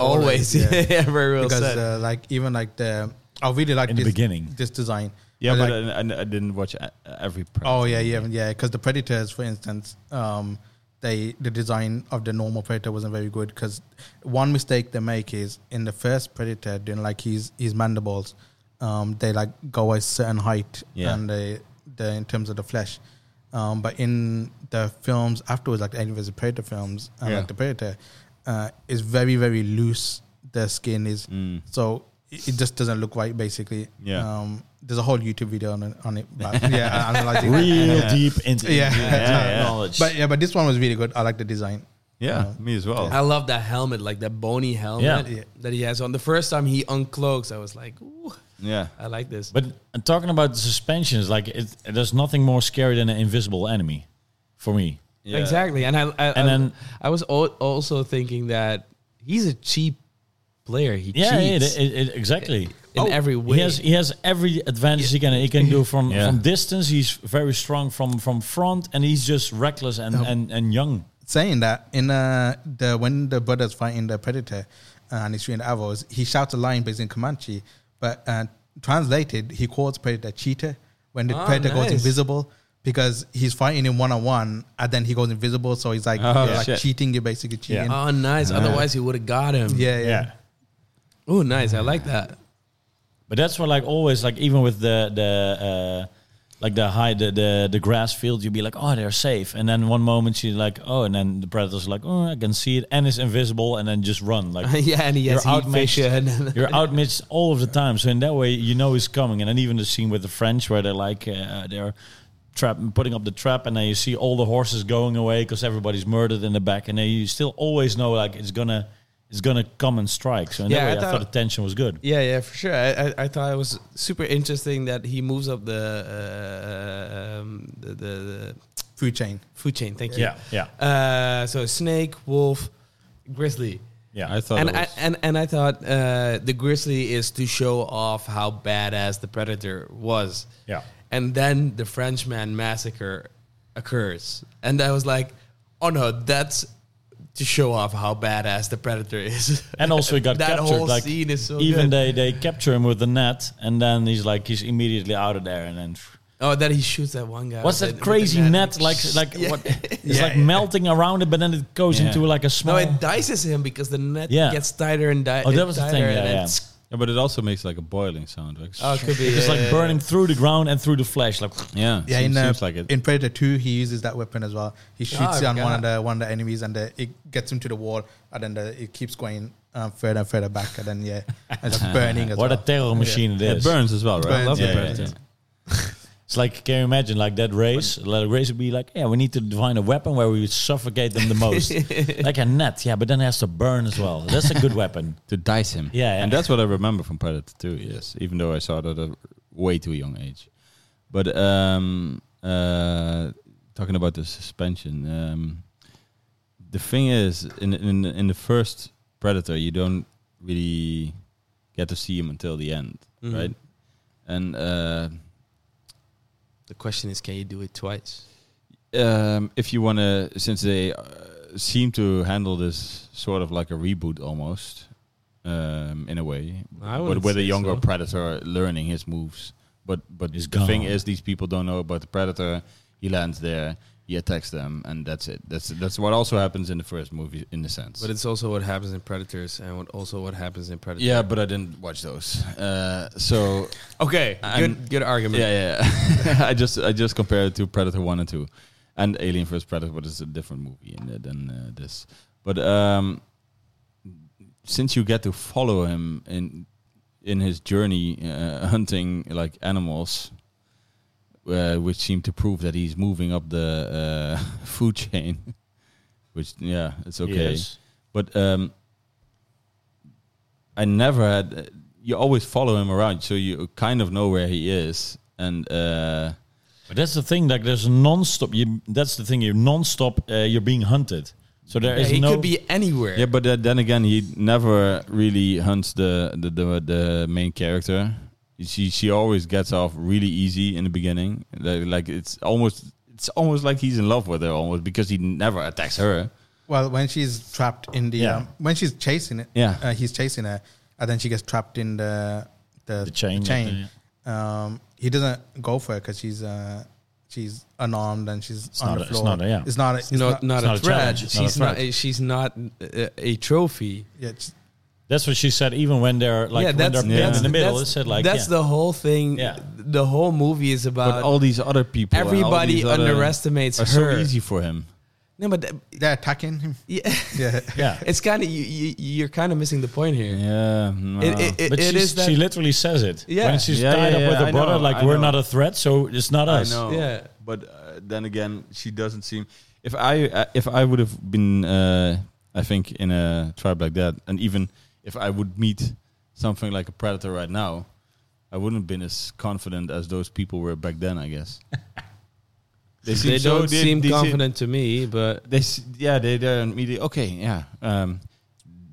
Speaker 3: always,
Speaker 4: always.
Speaker 3: yeah.
Speaker 4: <laughs> yeah, very well
Speaker 3: because
Speaker 4: said.
Speaker 3: uh, like even like the I really like
Speaker 2: in the
Speaker 3: this
Speaker 2: beginning.
Speaker 3: this design.
Speaker 1: yeah,
Speaker 3: I
Speaker 1: but
Speaker 3: like-
Speaker 1: I, I- I didn't watch a- every. Predator.
Speaker 3: oh yeah, yeah, yeah. Because the predators, for instance, um, they the design of the normal predator wasn't very good. Because one mistake they make is in the first predator, then like his his mandibles, um, they like go a certain height,
Speaker 1: Yeah.
Speaker 3: and they they in terms of the flesh. Um, but in the films afterwards, like the Alien vs Predator films, and
Speaker 1: Yeah.
Speaker 3: like the Predator, uh, is very very loose. The skin is
Speaker 1: Mm.
Speaker 3: so it, it just doesn't look right, basically.
Speaker 1: Yeah.
Speaker 3: Um, there's a whole YouTube video on it, on it but yeah, I- I analyzing it.
Speaker 2: Real
Speaker 1: Yeah.
Speaker 2: deep into
Speaker 3: Yeah.
Speaker 2: into
Speaker 1: Yeah, yeah.
Speaker 2: knowledge.
Speaker 3: But yeah, but this one was really good. I like the design.
Speaker 1: Yeah,
Speaker 3: Uh,
Speaker 1: me as well.
Speaker 4: I love that helmet, like that bony helmet
Speaker 3: Yeah. Yeah.
Speaker 4: that he has on. The first time he uncloaks, I was like, Ooh,
Speaker 1: Yeah,
Speaker 4: I like this.
Speaker 2: But uh, talking about the suspensions, like it, there's nothing more scary than an invisible enemy, for me.
Speaker 1: yeah.
Speaker 4: Exactly, and I,
Speaker 2: And
Speaker 4: I and
Speaker 2: then-
Speaker 4: then I was al- also thinking that he's a cheap player. He
Speaker 2: Yeah, it,
Speaker 4: cheats
Speaker 2: it, it- exactly. Oh,
Speaker 4: in every
Speaker 2: He
Speaker 4: way.
Speaker 2: has he has every advantage he can he can do from
Speaker 1: Yeah.
Speaker 2: from distance. He's very strong from from front, and he's just reckless and and, and young.
Speaker 3: Saying that in uh, the when the brothers fighting the predator uh, and he's shooting the arrows, he shouts a line based in Comanche, but uh, translated, he calls predator cheater when the
Speaker 4: Ah,
Speaker 3: predator goes
Speaker 4: nice.
Speaker 3: invisible because he's fighting him one on one and then he goes invisible, so he's like,
Speaker 1: Oh,
Speaker 3: you're like
Speaker 1: shit.
Speaker 3: cheating, you're basically cheating. Yeah,
Speaker 4: oh, nice. Otherwise, he would have got him.
Speaker 3: yeah.
Speaker 4: Oh, nice. I like that. <laughs>
Speaker 2: But that's what like always like even with the the uh, like the high the, the the grass field, you'd be like, oh, they're safe, and then one moment she's like, oh, and then the predator's like, oh, I can see it, and it's invisible, and then just run like.
Speaker 4: yeah, and he has
Speaker 2: You're
Speaker 4: heat
Speaker 2: outmatched.
Speaker 4: <laughs> vision.
Speaker 2: <laughs> You're outmatched all of the time, so in that way, you know he's coming. And then even the scene with the French, where they're like uh, they're trap putting up the trap, and then you see all the horses going away because everybody's murdered in the back, and then you still always know like it's gonna it's gonna come and strike. So in that
Speaker 4: Yeah, I
Speaker 2: way, I thought
Speaker 4: thought-
Speaker 2: the tension was good.
Speaker 4: yeah, yeah, for sure. I, I, I thought it was super interesting that he moves up the uh, um, the, the, the
Speaker 3: Food chain.
Speaker 4: food chain. Thank you.
Speaker 2: Yeah, yeah,
Speaker 4: Uh, so snake, wolf, grizzly.
Speaker 2: yeah.
Speaker 1: I thought.
Speaker 4: and
Speaker 1: it
Speaker 4: I
Speaker 1: was-
Speaker 4: and, and I thought uh, the grizzly is to show off how badass the predator was.
Speaker 2: Yeah.
Speaker 4: And then the Frenchman massacre occurs, and I was like, "Oh no, that's to show off how badass the predator is."
Speaker 2: And also he got
Speaker 4: <laughs> that
Speaker 2: captured.
Speaker 4: whole
Speaker 2: like
Speaker 4: scene is so
Speaker 2: even
Speaker 4: good.
Speaker 2: they they capture him with the net, and then he's like he's immediately out of there, and then.
Speaker 4: oh, that he shoots that one guy.
Speaker 2: What's
Speaker 4: with
Speaker 2: that
Speaker 4: the- with
Speaker 2: crazy
Speaker 4: the
Speaker 2: net like?
Speaker 4: <laughs>
Speaker 2: Like what? It's like melting around it, but then it goes
Speaker 1: Yeah.
Speaker 2: into like a small.
Speaker 4: No, it dices him because the net
Speaker 2: Oh. Yeah.
Speaker 4: gets tighter and di-
Speaker 2: Oh, that was the
Speaker 4: tighter
Speaker 2: thing, yeah,
Speaker 4: and then
Speaker 2: yeah.
Speaker 4: tsk-
Speaker 1: yeah, but it also makes like a boiling sound. Like,
Speaker 4: Oh, it could be.
Speaker 2: It's
Speaker 4: yeah,
Speaker 2: like
Speaker 4: yeah,
Speaker 2: burning
Speaker 4: yeah.
Speaker 2: through the ground and through the flesh. Like
Speaker 1: yeah,
Speaker 3: Yeah,
Speaker 1: seems,
Speaker 3: in, uh,
Speaker 1: seems like it.
Speaker 3: in Predator Two, he uses that weapon as well. He shoots it
Speaker 4: Oh, I
Speaker 3: on one of
Speaker 4: forgot.
Speaker 3: the one of the enemies, and uh, it gets him to the wall, and then the, it keeps going um, further and further back, and then yeah,
Speaker 2: <laughs>
Speaker 3: it's like burning as
Speaker 2: what
Speaker 3: well.
Speaker 2: a terror machine it
Speaker 1: it
Speaker 2: is.
Speaker 1: burns as well, right?
Speaker 3: burns,
Speaker 1: yeah,
Speaker 3: yeah,
Speaker 1: yeah,
Speaker 3: burns.
Speaker 1: yeah.
Speaker 2: It's like can you imagine like that race? Like a race would be like, yeah, we need to find a weapon where we would suffocate them the
Speaker 4: <laughs>
Speaker 2: most, like a net. Yeah, but then it has to burn as well. That's a good
Speaker 4: <laughs>
Speaker 2: weapon.
Speaker 1: to dice him.
Speaker 2: Yeah, yeah.
Speaker 1: and that's what I remember from Predator 2. Yes, even though I saw it at a way too young age. But um, uh, talking about the suspension, um, the thing is, in in in the first Predator, you don't really get to see him until the end,
Speaker 4: Mhm.
Speaker 2: Mm-hmm.
Speaker 1: right? And uh,
Speaker 4: The question is, can you do it twice?
Speaker 1: um, if you want to, since they uh, seem to handle this sort of like a reboot almost, um, in a way,
Speaker 4: I
Speaker 1: but
Speaker 4: wouldn't
Speaker 1: with a
Speaker 4: say
Speaker 1: younger
Speaker 4: so.
Speaker 1: predator learning his moves. But but
Speaker 2: He's
Speaker 1: the thing
Speaker 2: gone.
Speaker 1: is, these people don't know about the predator. He lands there, he attacks them, and that's it. That's that's what also happens in the first movie, in a sense.
Speaker 4: But it's also what happens in Predators and what also what happens in Predators.
Speaker 1: yeah, but I didn't watch those. Uh, so
Speaker 4: Okay.
Speaker 1: I'm-
Speaker 4: good good argument.
Speaker 1: yeah, yeah. yeah. <laughs> I just I just compared it to Predator One and Two, and Alien vs Predator, but it's a different movie in there than uh, this. But um, since you get to follow him in in his journey uh, <laughs> hunting like animals, uh, which seem to prove that he's moving up the uh, <laughs> food chain, which yeah, it's okay.
Speaker 2: Yes.
Speaker 1: But um, I never had. You always follow him around, so you kind of know where he is. And uh,
Speaker 2: But that's the thing. Like there's non-stop. You that's the thing. You're non-stop. Uh, you're being hunted. So there
Speaker 4: Yeah,
Speaker 2: is
Speaker 4: he
Speaker 2: no.
Speaker 4: could be anywhere.
Speaker 1: yeah, but uh, then again, he never really hunts the the the, the main character. She she always gets off really easy in the beginning. Like, like it's almost it's almost like he's in love with her almost because he never attacks her.
Speaker 3: Well, when she's trapped in the
Speaker 2: Yeah.
Speaker 3: um, when she's chasing it,
Speaker 1: Yeah.
Speaker 3: uh, he's chasing her, and then she gets trapped in the the,
Speaker 2: The chain,
Speaker 3: chain. Um, he doesn't go for her because she's uh, she's unarmed and she's
Speaker 2: It's
Speaker 3: on
Speaker 2: not
Speaker 3: the
Speaker 2: a- it's
Speaker 3: floor.
Speaker 2: not a- yeah.
Speaker 3: it's not. A,
Speaker 4: It's
Speaker 2: it's
Speaker 4: not, not,
Speaker 2: not
Speaker 4: a
Speaker 2: a
Speaker 4: threat.
Speaker 2: challenge, it's not a
Speaker 4: she's not.
Speaker 2: threat.
Speaker 4: a- she's not a, a trophy.
Speaker 3: yeah, it's-
Speaker 2: That's what she said. Even when they're like
Speaker 4: yeah,
Speaker 2: when
Speaker 4: that's,
Speaker 2: they're pinned
Speaker 4: that's
Speaker 2: in the middle, it
Speaker 4: That's,
Speaker 2: said like
Speaker 4: that's
Speaker 2: yeah.
Speaker 4: the whole thing.
Speaker 2: Yeah.
Speaker 4: The whole movie is
Speaker 1: But
Speaker 4: about
Speaker 1: all these other people, and all
Speaker 4: everybody
Speaker 1: these other-
Speaker 4: underestimates
Speaker 1: are so
Speaker 4: her.
Speaker 1: easy for him.
Speaker 4: No, but that-
Speaker 3: they're attacking him. <laughs>
Speaker 4: yeah, <laughs>
Speaker 3: Yeah,
Speaker 2: yeah.
Speaker 4: it's kind of you, you. You're kind of missing the point here.
Speaker 1: Yeah,
Speaker 4: It,
Speaker 1: no.
Speaker 4: it, it,
Speaker 2: Uh, but
Speaker 4: it
Speaker 2: she's-
Speaker 4: is that.
Speaker 2: she literally says it.
Speaker 4: Yeah.
Speaker 2: When she's
Speaker 1: Yeah,
Speaker 2: tied
Speaker 1: yeah,
Speaker 2: up
Speaker 1: yeah,
Speaker 2: with
Speaker 1: I
Speaker 2: her brother,
Speaker 1: know,
Speaker 2: like
Speaker 1: I
Speaker 2: we're
Speaker 1: know.
Speaker 2: not a threat, so it's not
Speaker 1: I
Speaker 2: us.
Speaker 1: know.
Speaker 4: Yeah.
Speaker 1: But uh, then again, she doesn't seem. If I uh, if I would have been, uh, I think in a tribe like that, and even if I would meet something like a predator right now, I wouldn't have been as confident as those people were back then. I
Speaker 4: <laughs>
Speaker 1: guess they, seem
Speaker 4: they
Speaker 1: so-
Speaker 4: don't
Speaker 1: they-
Speaker 4: seem
Speaker 1: they
Speaker 4: confident to me, but
Speaker 1: they s- yeah they they're immediately okay yeah. Um,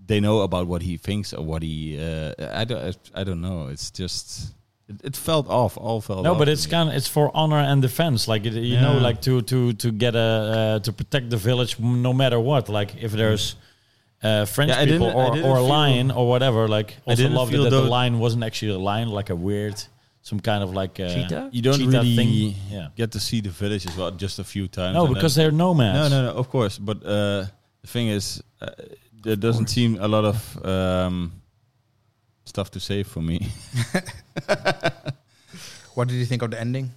Speaker 1: they know about what he thinks or what he. Uh, I don't. I don't know. It's just. It, it felt off. All felt.
Speaker 2: No,
Speaker 1: off
Speaker 2: but
Speaker 1: to
Speaker 2: it's
Speaker 1: me.
Speaker 2: kind of it's for honor and defense. Like it, you know,
Speaker 1: Yeah.
Speaker 2: like to to to get a uh, to protect the village m- no matter what. Like if there's uh, French
Speaker 1: Yeah, I
Speaker 2: people
Speaker 1: didn't- I
Speaker 2: or
Speaker 1: didn't
Speaker 2: or a
Speaker 1: feel-
Speaker 2: lion or whatever. Like also
Speaker 1: didn't
Speaker 2: love that
Speaker 1: feel
Speaker 2: the
Speaker 1: tho-
Speaker 2: lion wasn't actually a lion, like a weird some kind of like uh,
Speaker 4: Cheetah?
Speaker 1: you don't
Speaker 2: cheetah
Speaker 1: really
Speaker 2: thing. Yeah.
Speaker 1: get to see the village as well just a few times.
Speaker 2: No,
Speaker 1: and
Speaker 2: because
Speaker 1: then-
Speaker 2: they're nomads.
Speaker 1: no, no, no, of course. But uh, the thing is, uh, there doesn't seem a lot of um, stuff to say for me. <laughs>
Speaker 3: what did you think of the ending?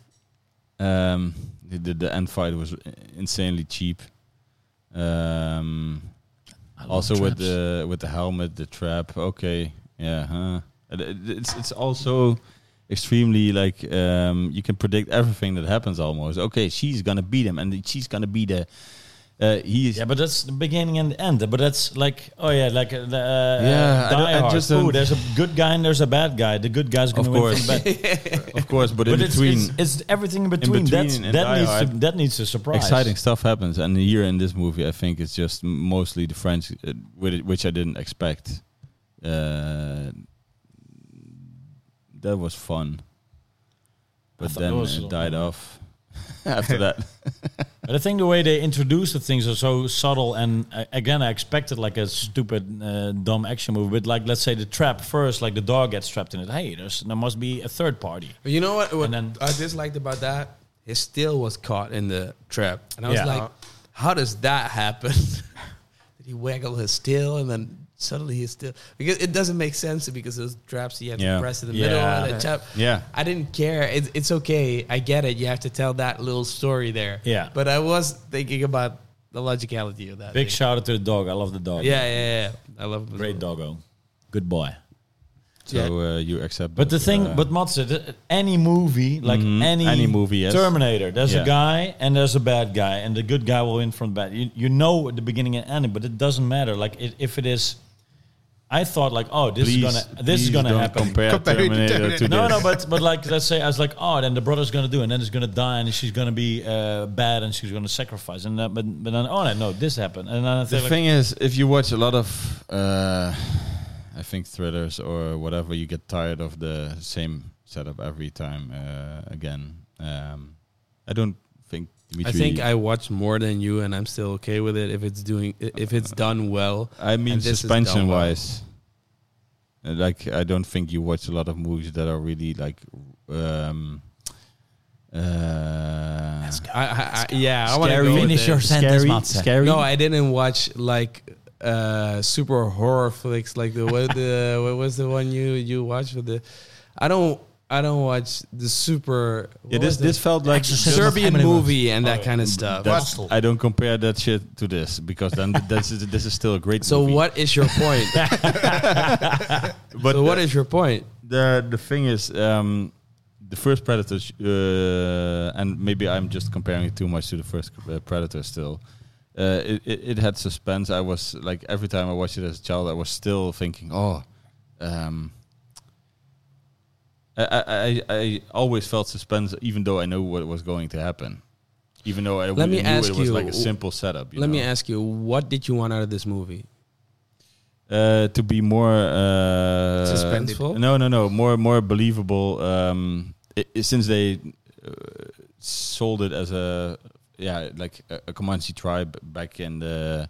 Speaker 1: Um, the, the the end fight was insanely cheap. Um,
Speaker 2: I love
Speaker 1: also with
Speaker 2: traps.
Speaker 1: the with the helmet, the trap. Okay, yeah, huh. And it- It's it's also extremely like um, you can predict everything that happens almost. Okay, she's gonna beat him, and she's gonna be the uh, he's
Speaker 2: Yeah, but that's the beginning and the end. But that's like, oh yeah, like uh, the, uh,
Speaker 1: Yeah, I
Speaker 2: Die
Speaker 1: don't- I
Speaker 2: Hard.
Speaker 1: just
Speaker 2: oh,
Speaker 1: don't-
Speaker 2: there's a good guy and there's a bad guy. The good guy's gonna
Speaker 1: Of
Speaker 2: win.
Speaker 1: course.
Speaker 2: From the bad.
Speaker 1: of course, but,
Speaker 2: but
Speaker 1: in
Speaker 2: it's,
Speaker 1: between.
Speaker 2: it's it's everything in between.
Speaker 1: between
Speaker 2: That's,
Speaker 1: and
Speaker 2: that
Speaker 1: Die
Speaker 2: needs to,
Speaker 1: Hard.
Speaker 2: that needs a surprise.
Speaker 1: Exciting stuff happens, and here in this movie, I think it's just m- mostly the French, uh, with it- which I didn't expect. Uh, that was fun, but
Speaker 2: thought
Speaker 1: then
Speaker 2: it was-
Speaker 1: it died off <laughs> after that.
Speaker 2: But I think the way they introduce the things are so subtle. And uh, again, I expected like a stupid, uh, dumb action movie. But like, let's say the trap first, like the dog gets trapped in it. Hey, there's there must be a third party.
Speaker 4: But you know what? What
Speaker 2: And then-
Speaker 4: I disliked about that, his tail was caught in the trap, and I was
Speaker 2: Yeah.
Speaker 4: like, "How does that happen? <laughs> Did he waggle his tail and then suddenly his tail? Because it doesn't make sense because those traps he had
Speaker 1: Yeah.
Speaker 4: to press in the
Speaker 2: Yeah.
Speaker 4: middle of the trap.
Speaker 1: Yeah.
Speaker 4: I didn't care. It's, it's okay. I get it. You have to tell that little story there.
Speaker 2: Yeah.
Speaker 4: but I was thinking about the logicality of that.
Speaker 2: Big
Speaker 4: thing.
Speaker 2: shout out to the dog. I love the dog.
Speaker 4: yeah, yeah, yeah. I love him.
Speaker 2: great doggo. Good boy.
Speaker 1: So uh, you accept,
Speaker 2: But the
Speaker 1: that,
Speaker 2: thing,
Speaker 1: uh,
Speaker 2: but Mats, any movie, like
Speaker 1: Mhm,
Speaker 2: any
Speaker 1: any movie, yes.
Speaker 2: Terminator, there's a
Speaker 1: Yeah.
Speaker 2: guy and there's a bad guy, and the good guy will win from the bad. You, you know at the beginning and ending, but it doesn't matter. Like it, if it is, I thought like, oh, this
Speaker 1: please,
Speaker 2: is gonna, this
Speaker 1: please
Speaker 2: is gonna
Speaker 1: don't
Speaker 2: happen.
Speaker 1: Compare,
Speaker 3: Compare to
Speaker 1: Terminator to
Speaker 2: No,
Speaker 1: this.
Speaker 2: no, but but like let's say I was like, oh, then the brother's gonna do, and then it's gonna die, and she's gonna be uh, bad, and she's gonna sacrifice, and that, but but then oh no, no, this happened, and then I
Speaker 1: the
Speaker 2: think, like,
Speaker 1: thing is, if you watch a lot of, uh, I think thrillers or whatever, you get tired of the same setup every time uh, again. Um, I don't think Dimitri,
Speaker 4: I think I watch more than you, and I'm still okay with it if it's doing if it's done well.
Speaker 1: I mean
Speaker 4: and this is done
Speaker 1: suspension
Speaker 4: well.
Speaker 1: wise. Uh, Like I don't think you watch a lot of movies that are really like um uh
Speaker 4: I, I, I yeah, I want to
Speaker 2: Scary.
Speaker 4: go with
Speaker 2: Finish
Speaker 4: it.
Speaker 2: your sentence,
Speaker 1: scary,
Speaker 2: Matze.
Speaker 1: scary.
Speaker 4: No, I didn't watch like uh super horror flicks like the what the what was the one you you watched with the I don't I don't watch the super
Speaker 1: yeah,
Speaker 4: what
Speaker 1: this
Speaker 4: was
Speaker 1: this
Speaker 4: it?
Speaker 1: felt like
Speaker 2: Exorcism.
Speaker 1: just-
Speaker 4: Serbian
Speaker 2: Family was-
Speaker 4: movie and that kind of stuff.
Speaker 1: that's-
Speaker 2: Hostel.
Speaker 1: I don't compare that shit to this because then this is this is still a great
Speaker 4: So
Speaker 1: movie.
Speaker 4: what is your point?
Speaker 1: But
Speaker 4: so what is your point?
Speaker 1: the the thing is um the first predator sh- uh, and maybe i'm just comparing it too much to the first uh, predator still uh, it, it, it had suspense i was like every time i watched it as a child i was still thinking oh um I, I, I- I always felt suspense even though i knew what was going to happen even though i
Speaker 4: Let me
Speaker 1: knew
Speaker 4: ask
Speaker 1: it was
Speaker 4: you,
Speaker 1: like a simple setup you
Speaker 4: Let me
Speaker 1: know?
Speaker 4: ask you, what did you want out of this movie?
Speaker 1: uh, to be more uh,
Speaker 4: Suspenseful?
Speaker 1: No, no, no. More, more believable. Um, i i- since they uh, sold it as a yeah, like a, a Comanche tribe back in the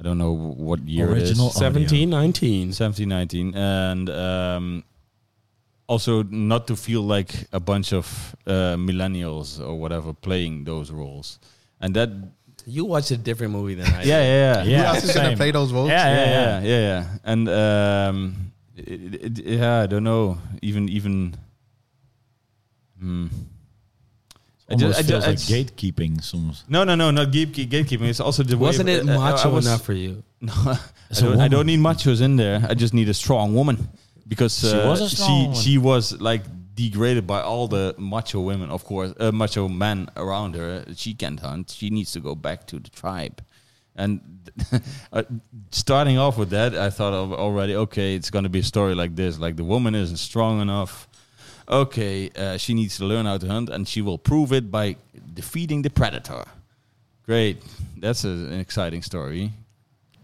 Speaker 1: I don't know what year
Speaker 2: Original
Speaker 1: it is,
Speaker 2: audio.
Speaker 4: 17, 19.
Speaker 1: 17, 19. and um, also not to feel like a bunch of uh, millennials or whatever playing those roles, and that
Speaker 4: You watched a different movie than <laughs> I did.
Speaker 1: yeah, yeah, yeah,
Speaker 2: Yeah,
Speaker 3: Who else is going
Speaker 2: same.
Speaker 3: to play those roles?
Speaker 2: Yeah,
Speaker 1: yeah, yeah, yeah, yeah. And um, it, it, it- yeah, I don't know. Even even. Hmm. I
Speaker 2: Almost
Speaker 1: just, I
Speaker 2: feels
Speaker 1: just, I
Speaker 2: like
Speaker 1: just-
Speaker 2: gatekeeping. Some
Speaker 1: No, no, no, not gate, gatekeeping. It's also the way-
Speaker 4: Wasn't it
Speaker 1: uh, uh,
Speaker 4: macho
Speaker 1: I was-
Speaker 4: enough for you?
Speaker 1: <laughs> No, I
Speaker 2: It's a
Speaker 1: don't, I
Speaker 2: woman.
Speaker 1: don't need machos in there. I just need a strong woman because
Speaker 2: She
Speaker 1: uh,
Speaker 2: was a strong
Speaker 1: she,
Speaker 2: woman.
Speaker 1: she was like degraded by all the macho women, of course, uh, macho men around her. She can't hunt. She needs to go back to the tribe. And <laughs> uh, starting off with that, I thought of already, okay, it's going to be a story like this. Like the woman isn't strong enough. Okay, uh, she needs to learn how to hunt, and she will prove it by defeating the predator. Great, that's a, an exciting story.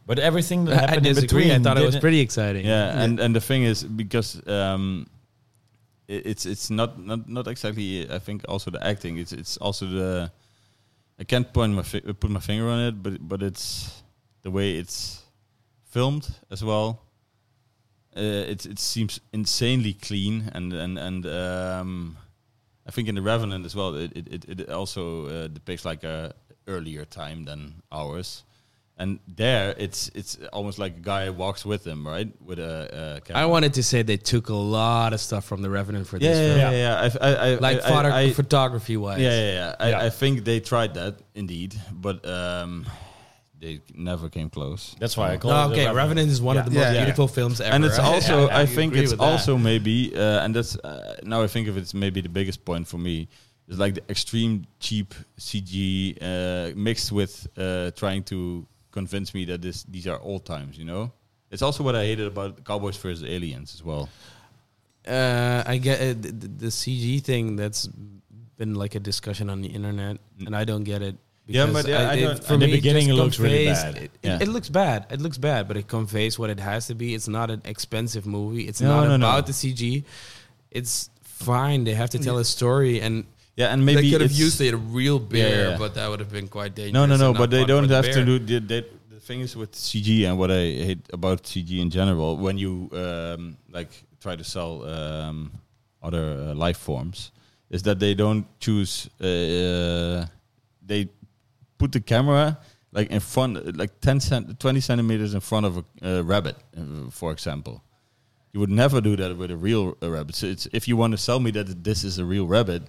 Speaker 2: but everything that
Speaker 4: I
Speaker 2: happened in
Speaker 4: disagree.
Speaker 2: between.
Speaker 4: I thought it was
Speaker 2: didn't-
Speaker 4: pretty exciting.
Speaker 1: Yeah, and and the thing is because um, i- it's it's not not not exactly. I think also the acting. It's it's also the. I can't point my fi- put my finger on it, but but it's the way it's filmed as well. Uh, it it seems insanely clean and and and um, I think in the Revenant as well. It it it, it also uh, depicts like a earlier time than ours. And there, it's it's almost like a guy walks with him, right? With a, uh
Speaker 4: I wanted to say they took a lot of stuff from The Revenant for
Speaker 1: yeah,
Speaker 4: this
Speaker 1: yeah,
Speaker 4: film.
Speaker 1: yeah, yeah. I, I, I,
Speaker 4: Like
Speaker 1: I, I, I,
Speaker 4: photography wise.
Speaker 1: yeah, yeah, yeah. I,
Speaker 2: Yeah.
Speaker 1: I think they tried that indeed, but um, they never came close.
Speaker 2: That's why I called
Speaker 4: No,
Speaker 2: it.
Speaker 4: okay,
Speaker 2: a
Speaker 4: Revenant is one of the most
Speaker 3: Yeah, yeah.
Speaker 4: beautiful films ever.
Speaker 1: and it's
Speaker 4: <laughs> right?
Speaker 1: also,
Speaker 4: Yeah,
Speaker 1: I
Speaker 4: you
Speaker 1: think
Speaker 4: agree
Speaker 1: it's
Speaker 4: with that.
Speaker 1: also maybe, uh, and that's uh, now I think of it, it's maybe the biggest point for me is like the extreme cheap CG uh, mixed with uh, trying to convince me that this these are old times. You know, it's also what I hated about Cowboys versus Aliens as well.
Speaker 4: Uh, I get it, the, the CG thing that's been like a discussion on the internet, and I don't get it.
Speaker 1: Mm. Yeah, but
Speaker 4: because
Speaker 1: yeah, I
Speaker 4: it-
Speaker 1: don't-
Speaker 4: for
Speaker 2: In the
Speaker 4: me,
Speaker 2: beginning,
Speaker 4: just
Speaker 2: it looks really
Speaker 4: conveys-
Speaker 2: bad.
Speaker 4: It, it-
Speaker 1: Yeah.
Speaker 4: it looks bad. It looks bad, but it conveys what it has to be. It's not an expensive movie. It's
Speaker 1: No,
Speaker 4: not
Speaker 1: no, no.
Speaker 4: about the CG. It's fine. They have to tell a story, and
Speaker 1: Yeah, and maybe
Speaker 4: they could have
Speaker 1: it's-
Speaker 4: used a real bear,
Speaker 1: Yeah, yeah.
Speaker 4: but that would have been quite dangerous.
Speaker 1: No, no,
Speaker 4: and
Speaker 1: no.
Speaker 4: not
Speaker 1: But they
Speaker 4: fun for
Speaker 1: don't
Speaker 4: the
Speaker 1: have
Speaker 4: bear.
Speaker 1: to do the, the the thing is with CG and what I hate about CG in general. When you um, like try to sell um, other uh, life forms, is that they don't choose. Uh, they put the camera like in front, like 10 cent, 20 centimeters in front of a uh, rabbit, uh, for example. You would never do that with a real uh, rabbit. So it's if you want to sell me that this is a real rabbit,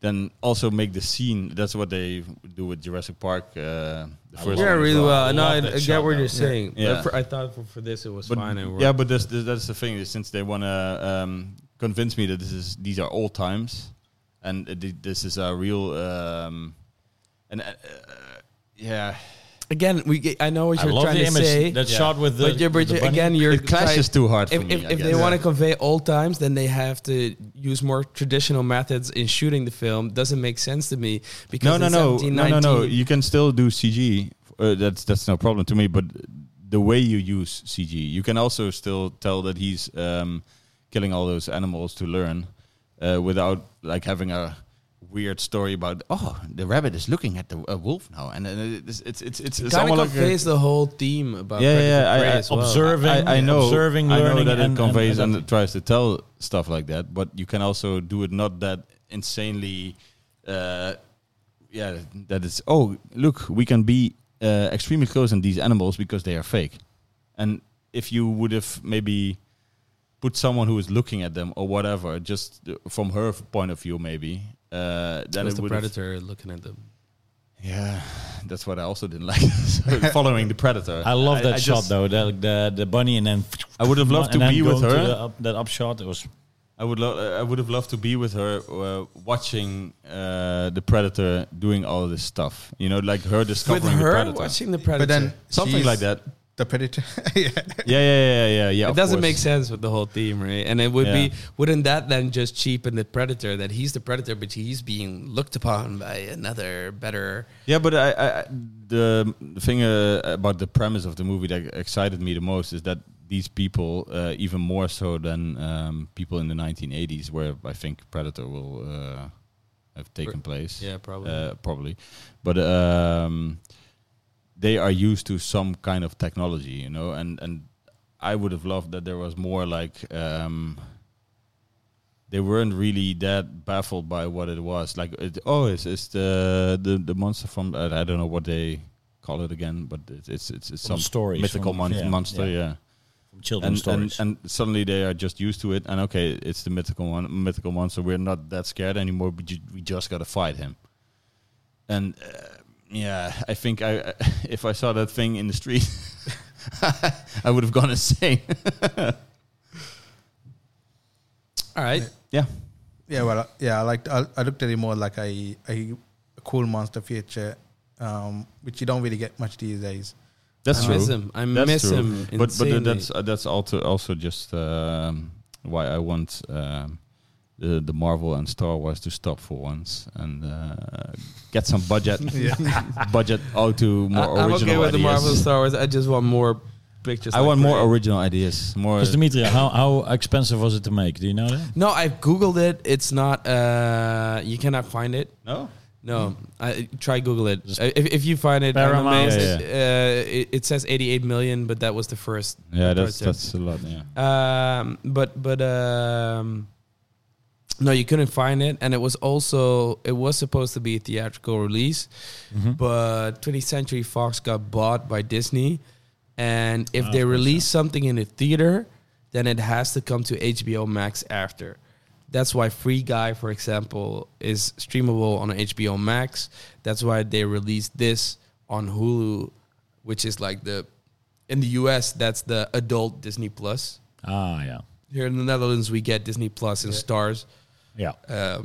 Speaker 1: then also make the scene. That's what they do with Jurassic Park. Uh, the first
Speaker 4: Yeah,
Speaker 1: one as
Speaker 4: really uh,
Speaker 1: well.
Speaker 4: well. No,
Speaker 2: love
Speaker 4: I,
Speaker 2: that
Speaker 4: I get
Speaker 2: shot,
Speaker 4: what
Speaker 2: though.
Speaker 4: you're saying.
Speaker 1: Yeah.
Speaker 4: But for- I thought for, for this it was
Speaker 1: But
Speaker 4: fine. And
Speaker 1: yeah, but that's the, that's the thing. Is since they want to um, convince me that this is these are old times, and uh, th- this is a real um, and uh, uh, yeah,
Speaker 4: again, we get, I know what
Speaker 2: I
Speaker 4: you're
Speaker 2: love
Speaker 4: trying
Speaker 2: the
Speaker 4: to
Speaker 2: image
Speaker 4: say,
Speaker 2: that
Speaker 1: Yeah.
Speaker 2: shot with the.
Speaker 4: but, you're, but
Speaker 2: the
Speaker 4: you're,
Speaker 2: bunny.
Speaker 4: again, you're
Speaker 1: it clashes too hard for
Speaker 4: If,
Speaker 1: me.
Speaker 4: if,
Speaker 1: I
Speaker 4: if
Speaker 1: guess.
Speaker 4: they want to convey old times, then they have to use more traditional methods in shooting the film. Doesn't make sense to me
Speaker 1: no,
Speaker 4: because
Speaker 1: no,
Speaker 4: in
Speaker 1: no,
Speaker 4: 17,
Speaker 1: no, no, no.
Speaker 4: 19
Speaker 1: You can still do CG. Uh, that's that's no problem to me. But the way you use CG, you can also still tell that he's um, killing all those animals to learn uh, without like having a weird story about oh the rabbit is looking at the uh, wolf now, and uh, it's it's it's it's
Speaker 4: kind of
Speaker 1: somewhat
Speaker 4: conveys the whole theme about
Speaker 1: yeah,
Speaker 4: Predator
Speaker 1: yeah, yeah,
Speaker 4: Prey
Speaker 1: I, I,
Speaker 4: as well.
Speaker 2: observing,
Speaker 1: I, I know,
Speaker 2: observing,
Speaker 1: I know
Speaker 2: learning
Speaker 1: that
Speaker 2: and-
Speaker 1: it conveys
Speaker 2: and-
Speaker 1: and, it tries to tell stuff like that, but you can also do it not that insanely, uh, yeah, that it's oh look, we can be uh, extremely close on these animals because they are fake, and if you would have maybe put someone who is looking at them or whatever, just uh, from her f- point of view, maybe. Uh, then
Speaker 4: That's
Speaker 1: it
Speaker 4: the
Speaker 1: would
Speaker 4: predator looking at them.
Speaker 1: yeah, that's what I also didn't <laughs> like. So following the predator,
Speaker 2: I love that shot
Speaker 1: just-
Speaker 2: though. The, the the bunny and then
Speaker 1: I would have loved to
Speaker 2: and then
Speaker 1: be with
Speaker 2: going to
Speaker 1: her.
Speaker 2: the up- that upshot it was
Speaker 1: I would love. I would have loved to be with her, uh, watching uh, the predator doing all this stuff. You know, like her
Speaker 4: With
Speaker 1: discovering the
Speaker 4: her
Speaker 1: predator,
Speaker 4: watching the predator,
Speaker 3: But then
Speaker 1: something
Speaker 3: she's
Speaker 1: like that.
Speaker 3: The predator. <laughs> yeah.
Speaker 1: Yeah, yeah, yeah, yeah, yeah.
Speaker 4: it
Speaker 1: of
Speaker 4: doesn't
Speaker 1: course.
Speaker 4: make sense with the whole theme, right? And it would
Speaker 1: Yeah.
Speaker 4: be wouldn't that then just cheapen the predator that he's the predator, but he's being looked upon by another better.
Speaker 1: Yeah, but I, I I- the the thing uh, about the premise of the movie that excited me the most is that these people, uh, even more so than um, people in the 1980s, where I think Predator will uh, have taken place.
Speaker 4: Yeah, probably.
Speaker 1: uh, probably, but um, they are used to some kind of technology, you know, and and I would have loved that there was more like um, they weren't really that baffled by what it was. Like, it, oh, it's, it's the, the the monster from uh, I don't know what they call it again, but it's it's it's, it's
Speaker 2: From
Speaker 1: some
Speaker 2: stories,
Speaker 1: mythical
Speaker 2: from-
Speaker 1: mon-
Speaker 2: yeah,
Speaker 1: monster,
Speaker 2: yeah.
Speaker 1: yeah.
Speaker 2: from children's
Speaker 1: And, and
Speaker 2: stories.
Speaker 1: and suddenly they are just used to it, and okay, it's the mythical one, mythical monster. We're not that scared anymore. We, ju- we just gotta fight him. And uh, yeah, I think I <laughs> if I saw that thing in the street, <laughs> I would have gone insane. <laughs>
Speaker 4: All right,
Speaker 1: yeah,
Speaker 3: Yeah, well, uh, yeah, I liked. I, I looked at it more like a, a a cool monster feature, um, which you don't really get much these days.
Speaker 1: that's
Speaker 4: I
Speaker 1: true.
Speaker 4: miss him. I
Speaker 1: That's
Speaker 4: miss
Speaker 1: true.
Speaker 4: him.
Speaker 1: But but uh,
Speaker 4: insanely.
Speaker 1: that's uh, that's also also just um, why I want um, the the Marvel and Star Wars to stop for once and uh, get some
Speaker 4: <laughs>
Speaker 1: budget <laughs> budget out to more
Speaker 4: I, am
Speaker 1: original
Speaker 4: okay with the
Speaker 1: ideas.
Speaker 4: Marvel Star Wars. I just want more pictures.
Speaker 1: I
Speaker 4: like
Speaker 1: want more
Speaker 4: that.
Speaker 1: original ideas. More.
Speaker 2: Because Dimitri, how, how expensive was it to make? Do you know that?
Speaker 4: No, I googled it. It's not. Uh, you cannot find it.
Speaker 1: No.
Speaker 4: No,
Speaker 1: Hmm.
Speaker 4: I try Google it.
Speaker 2: Just
Speaker 4: Uh, If, if you find it, I'm
Speaker 2: Paramount.
Speaker 4: amazed.
Speaker 1: Yeah,
Speaker 4: Uh, it, it says 88 million, but that was the first.
Speaker 1: Yeah, that's
Speaker 4: project.
Speaker 1: that's a lot. Yeah.
Speaker 4: Um, but but um, no, you couldn't find it, and it was also it was supposed to be a theatrical release, but 20th Century Fox got bought by Disney, and if
Speaker 2: Ah,
Speaker 4: they
Speaker 2: of course,
Speaker 4: release something in the theater, then it has to come to HBO Max after. That's why Free Guy, for example, is streamable on HBO Max. That's why they released this on Hulu, which is like the in the US that's the adult Disney Plus.
Speaker 2: Ah, yeah,
Speaker 4: Here in the Netherlands we get Disney Plus and Stars.
Speaker 2: yeah.
Speaker 4: Uh,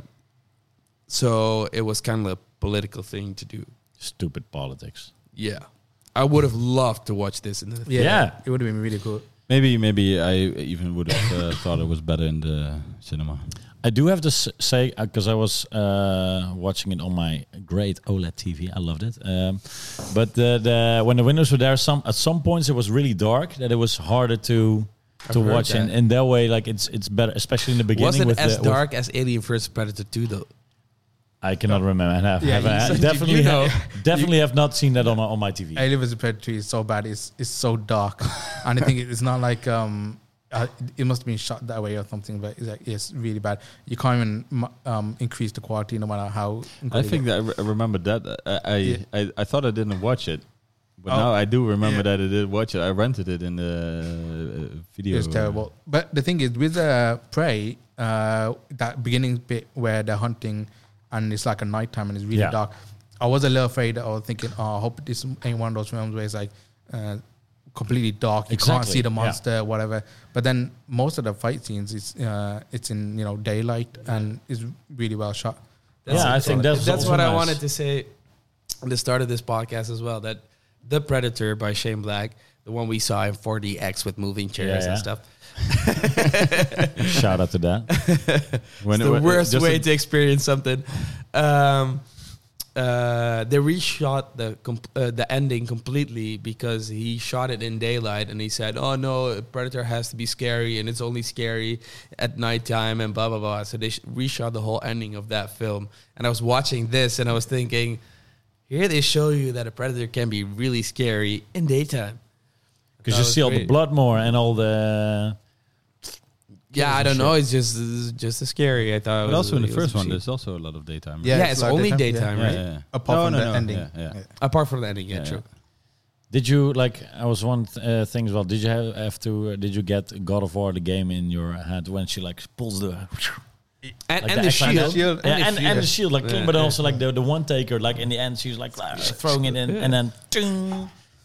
Speaker 4: so it was kind of a political thing to do.
Speaker 2: Stupid politics.
Speaker 4: Yeah. I would have loved to watch this in the
Speaker 2: Yeah.
Speaker 3: it would have been really cool.
Speaker 1: Maybe maybe I even would have uh, thought it was better in the cinema.
Speaker 2: I do have to s- say because I was uh, watching it on my great E OLED TV. I loved it. Um, but the, the when the windows were there, some at some points it was really dark that it was harder to to
Speaker 4: heard
Speaker 2: watch. And
Speaker 4: that.
Speaker 2: in that way, like it's it's better, especially in the beginning.
Speaker 4: Was it
Speaker 2: with
Speaker 4: as
Speaker 2: the, with-
Speaker 4: dark as Alien vs Predator 2 though?
Speaker 2: I cannot remember. I have,
Speaker 3: Yeah,
Speaker 2: have- I
Speaker 3: you- you
Speaker 2: definitely
Speaker 3: know.
Speaker 2: have, <laughs> definitely have not seen that on my- on my TV.
Speaker 3: Alien vs Predator is so bad. It's it's so <laughs> dark, and I think it's not like um, uh, it must have been shot that way or something. But it's like it's really bad. You can't even mu- um increase the quality no matter how.
Speaker 1: I
Speaker 3: good it
Speaker 1: think
Speaker 3: is.
Speaker 1: that I, re- I remember that. uh, I I,
Speaker 3: Yeah.
Speaker 1: I I thought I didn't watch it, but
Speaker 3: Oh.
Speaker 1: now I do remember
Speaker 3: Yeah.
Speaker 1: that I did watch it. I rented it in the uh, video.
Speaker 3: It's terrible. But the thing is, with the prey, uh, that beginning bit where they're hunting and it's like a nighttime and it's really
Speaker 2: Yeah.
Speaker 3: dark, I was a little afraid. I was thinking, oh, I hope this ain't one of those films where it's like uh, completely dark. You can't
Speaker 2: Exactly,
Speaker 3: see the
Speaker 2: yeah.
Speaker 3: monster, whatever. But then most of the fight scenes, it's uh, it's in you know daylight and it's really well shot.
Speaker 2: Yeah, I think that's also
Speaker 4: what I
Speaker 2: nice.
Speaker 4: wanted to say at the start of this podcast as well. That the Predator by Shane Black, the one we saw in 4DX with moving chairs
Speaker 2: yeah.
Speaker 4: and stuff,
Speaker 2: Shout out to that.
Speaker 1: When
Speaker 4: it's the
Speaker 1: wa-
Speaker 4: worst
Speaker 1: just
Speaker 4: way
Speaker 1: a-
Speaker 4: to experience something. Um, uh, they reshot the comp- uh, the ending completely because he shot it in daylight and he said, "Oh no, Predator has to be scary and it's only scary at nighttime and blah blah blah." So they sh- reshot the whole ending of that film. And I was watching this and I was thinking, here they show you that a predator can be really scary in daytime.
Speaker 2: Because
Speaker 4: That
Speaker 2: you
Speaker 4: was
Speaker 2: see all the
Speaker 4: great.
Speaker 2: blood more and all the.
Speaker 4: Yeah, I
Speaker 2: Kills
Speaker 4: don't
Speaker 2: and
Speaker 4: know. It's just it's just as scary. I thought. it
Speaker 1: But
Speaker 4: was-
Speaker 1: also in the
Speaker 4: it was
Speaker 1: first one,
Speaker 4: cheap.
Speaker 1: there's also a lot of daytime. right?
Speaker 4: yeah,
Speaker 3: Yeah,
Speaker 4: it's,
Speaker 3: it's like
Speaker 4: only
Speaker 3: daytime,
Speaker 4: daytime,
Speaker 1: yeah,
Speaker 4: right?
Speaker 1: yeah, yeah.
Speaker 3: Apart
Speaker 1: No,
Speaker 3: from
Speaker 1: no,
Speaker 3: the
Speaker 1: no,
Speaker 3: ending.
Speaker 1: yeah, yeah.
Speaker 3: Yeah.
Speaker 4: Apart from the ending, yeah,
Speaker 1: Yeah,
Speaker 4: true.
Speaker 2: Did you like? I was one th- uh, thing as well. Did you have, have to? Uh, did you get God of War the game in your head when she like pulls the <laughs>
Speaker 4: And,
Speaker 2: like
Speaker 4: and the
Speaker 2: axe like
Speaker 4: shield.
Speaker 2: that?
Speaker 3: Shield
Speaker 2: yeah,
Speaker 3: and the
Speaker 2: and, and the
Speaker 3: shield.
Speaker 2: shield like clean,
Speaker 4: Yeah,
Speaker 2: but
Speaker 4: yeah.
Speaker 2: also like the the one taker like in the end she was like <laughs> throwing it in and then ting.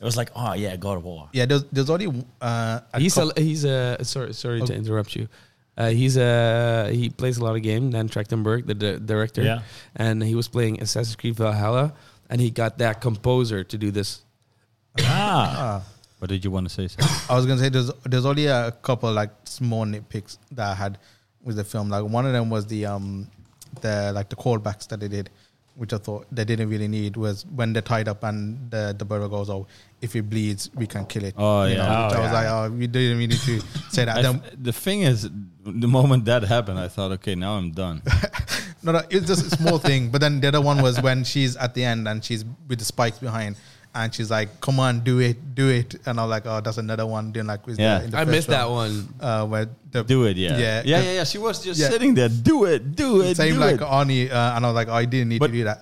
Speaker 2: it was like oh yeah God of War.
Speaker 3: Yeah, there's, there's only uh, a
Speaker 4: He's
Speaker 3: couple-
Speaker 4: a he's a sorry sorry to
Speaker 3: Oh.
Speaker 4: interrupt you. Uh, he's a he plays a lot of game. Dan Trachtenberg, the di- director,
Speaker 2: Yeah.
Speaker 4: and he was playing Assassin's Creed Valhalla, and he got that composer to do this.
Speaker 2: ah,
Speaker 3: Ah,
Speaker 1: What did you want to say? Sam?
Speaker 3: I was gonna say there's there's only a couple like small nitpicks that I had with the film. Like one of them was the um the like the callbacks that they did, which I thought they didn't really need was when they're tied up and the the burrow goes, Oh, if it bleeds, we can kill it.
Speaker 1: Oh,
Speaker 3: You know,
Speaker 1: yeah.
Speaker 2: Oh,
Speaker 3: which I was
Speaker 2: yeah.
Speaker 3: like, Oh, we didn't
Speaker 1: <laughs>
Speaker 3: really need to say that.
Speaker 1: I
Speaker 3: Then,
Speaker 1: th- the thing is, the moment that happened, I thought, okay, now I'm done.
Speaker 3: no, no, it's just a small thing. But then the other one was when she's at the end and she's with the spikes behind and she's like, Come on, do it, do it and I'm like, Oh, that's another one doing like with
Speaker 1: Yeah.
Speaker 3: the, in the
Speaker 4: I
Speaker 3: first
Speaker 4: missed that one.
Speaker 3: Uh, where the
Speaker 1: Do it, yeah.
Speaker 3: Yeah,
Speaker 1: yeah,
Speaker 3: 'cause-
Speaker 1: yeah. yeah. She was just
Speaker 3: Yeah.
Speaker 1: sitting there. Do it, do it,
Speaker 3: same
Speaker 1: do
Speaker 3: like
Speaker 1: it.
Speaker 3: Arnie, uh, and I was like, I didn't need
Speaker 1: But-
Speaker 3: to do that.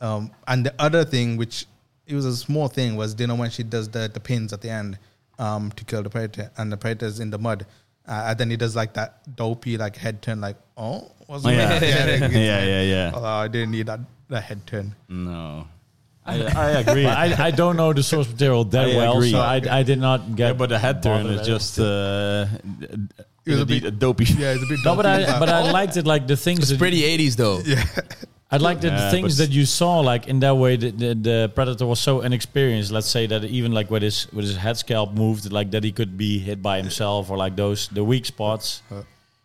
Speaker 3: Um, and the other thing, which it was a small thing, was you know when she does the, the pins at the end um, to kill the predator, and the predator's in the mud, uh, and then he does like that dopey like head turn, like oh, was
Speaker 1: Oh,
Speaker 3: <laughs>
Speaker 1: yeah. <laughs> yeah,
Speaker 3: like,
Speaker 1: yeah, yeah.
Speaker 3: oh, I didn't need that that head turn.
Speaker 1: No.
Speaker 2: I, I agree. <laughs> I, I don't know the source material that
Speaker 1: I
Speaker 2: well,
Speaker 1: agree.
Speaker 2: so I, I did not get.
Speaker 1: Yeah, but the head turn is
Speaker 2: bothered by it.
Speaker 1: just uh, d- d-
Speaker 3: It was a
Speaker 1: indeed
Speaker 3: bit-
Speaker 1: a dopey.
Speaker 3: Yeah, it's a bit.
Speaker 2: No, but
Speaker 3: dopey,
Speaker 2: I but I liked it like the things
Speaker 4: It's
Speaker 2: that
Speaker 4: pretty eighties though.
Speaker 2: I like the
Speaker 1: Yeah,
Speaker 2: things
Speaker 1: but-
Speaker 2: that you saw, like in that way, the, the, the predator was so inexperienced. Let's say that even like with his with his head scalp moved, like that he could be hit by himself or like those the weak spots.
Speaker 4: Uh-huh.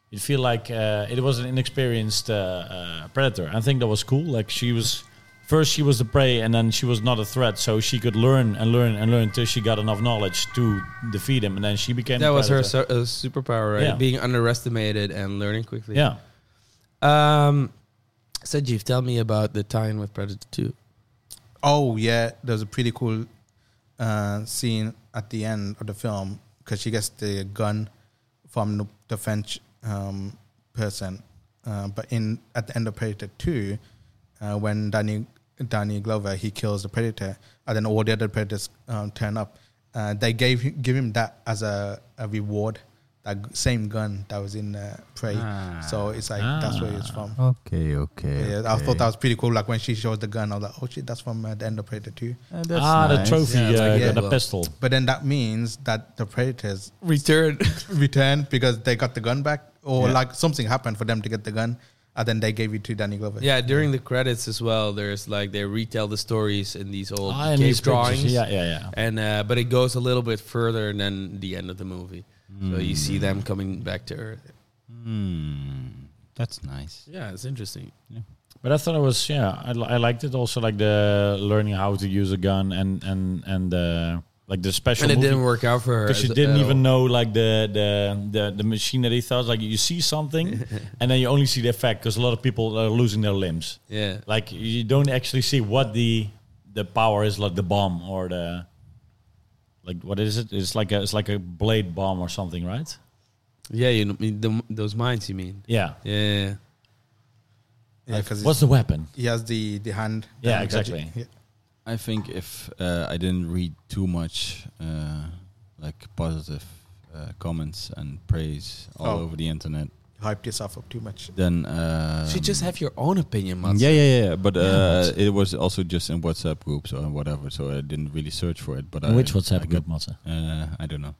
Speaker 2: You feel like uh, it was an inexperienced uh, uh, predator. I think that was cool. Like she was first she was the prey, and then she was not a threat, so she could learn and learn and learn till she got enough knowledge to defeat him, and then she became
Speaker 4: That
Speaker 2: the
Speaker 4: was her
Speaker 2: predator.
Speaker 4: su- uh, superpower, right?
Speaker 2: Yeah.
Speaker 4: Being underestimated and learning quickly.
Speaker 2: Yeah.
Speaker 4: Um, Sajif, tell me about the tie-in with Predator Two.
Speaker 3: Oh yeah, there's a pretty cool uh, scene at the end of the film because she gets the gun from the- the French um, person. Uh, but in at the end of Predator Two, uh, when Danny Danny Glover he kills the Predator, and then all the other Predators um, turn up. Uh, they gave him, give him that as a, a reward. That g- same gun that was in uh, Prey, so it's like that's where it's from.
Speaker 1: <laughs> Okay, okay.
Speaker 3: Yeah, I thought that was pretty cool. Like when she shows the gun, I was like, "Oh shit, that's from uh, the end of Predator 2.
Speaker 2: ah, the trophy,
Speaker 4: Yeah, it's
Speaker 2: uh,
Speaker 4: like, yeah,
Speaker 2: the
Speaker 4: well.
Speaker 2: pistol.
Speaker 3: But then that means that the Predators <laughs>
Speaker 4: Return.
Speaker 3: returned because they got the gun back, or
Speaker 1: Yeah.
Speaker 3: like something happened for them to get the gun, and then they gave it to Danny Glover.
Speaker 4: yeah, during the credits as well. There's like they retell the stories in these old
Speaker 2: Ah, and
Speaker 4: cave
Speaker 2: these pictures.
Speaker 4: drawings.
Speaker 2: Yeah, yeah, yeah.
Speaker 4: and uh, but it goes a little bit further than the end of the movie. So you see them coming back to Earth.
Speaker 1: Hmm, that's nice.
Speaker 4: Yeah, it's interesting.
Speaker 2: But I thought it was yeah, I, li- I liked it also like the learning how to use a gun and and and uh, like the special
Speaker 4: And it
Speaker 2: movie.
Speaker 4: didn't work out for her
Speaker 2: because
Speaker 4: as-
Speaker 2: you didn't
Speaker 4: at
Speaker 2: even
Speaker 4: all.
Speaker 2: know like the the the, the machine that he thought like you see something
Speaker 4: <laughs>
Speaker 2: and then you only see the effect because a lot of people are losing their limbs
Speaker 4: Yeah,
Speaker 2: like you don't actually see what the the power is like the bomb or the like what is it it's like a it's like a blade bomb or something right
Speaker 4: yeah. You know, the, those mines. You mean?
Speaker 2: yeah
Speaker 4: Yeah.
Speaker 3: yeah, because
Speaker 2: what's the weapon
Speaker 3: he has the the hand.
Speaker 2: Yeah,
Speaker 3: um,
Speaker 2: exactly.
Speaker 3: Yeah.
Speaker 1: I think if uh, I didn't read too much, uh, like positive uh, comments and praise all
Speaker 3: Oh.
Speaker 1: over the internet,
Speaker 3: Hyped yourself up too much.
Speaker 1: then um,
Speaker 4: You should just have your own opinion, Mats.
Speaker 1: yeah, yeah, yeah. But uh, it was also just in WhatsApp groups or whatever, so I didn't really search for it. But I,
Speaker 2: which what's
Speaker 1: I
Speaker 2: happening
Speaker 1: got-
Speaker 2: with Matze?
Speaker 1: Uh, I don't know.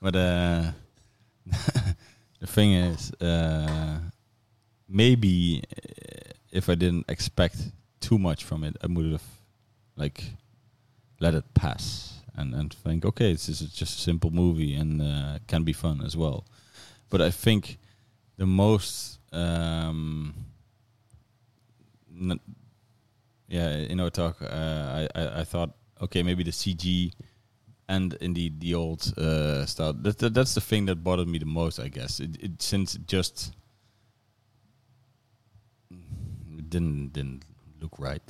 Speaker 1: But uh, <laughs> the thing is, uh, maybe uh, if I didn't expect too much from it, I would have like let it pass and and think, okay, this is just a simple movie and uh, can be fun as well. But I think the most um, n- yeah, in our talk, uh, I, I I thought okay maybe the CG and indeed the old uh, style. That, that that's the thing that bothered me the most, I guess. It, it since it just it didn't didn't look right.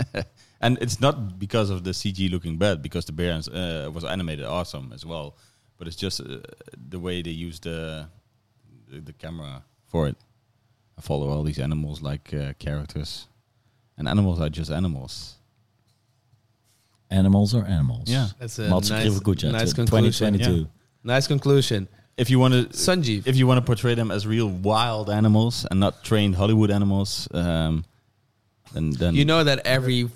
Speaker 1: <laughs> and it's not because of the CG looking bad, because the bear uh, was animated awesome as well. But it's just uh, the way they use the the, the camera for it. I follow all these animals like uh, characters, and animals are just animals.
Speaker 2: Animals are animals.
Speaker 1: Yeah.
Speaker 4: That's a
Speaker 2: Mats
Speaker 4: nice,
Speaker 2: Krivokucha,
Speaker 4: nice
Speaker 2: tw-
Speaker 4: conclusion.
Speaker 2: 2022.
Speaker 4: Nice conclusion.
Speaker 1: If you want to,
Speaker 4: Sanjeev.
Speaker 1: if you want to portray them as real wild animals and not trained Hollywood animals, um, then then
Speaker 4: You know that every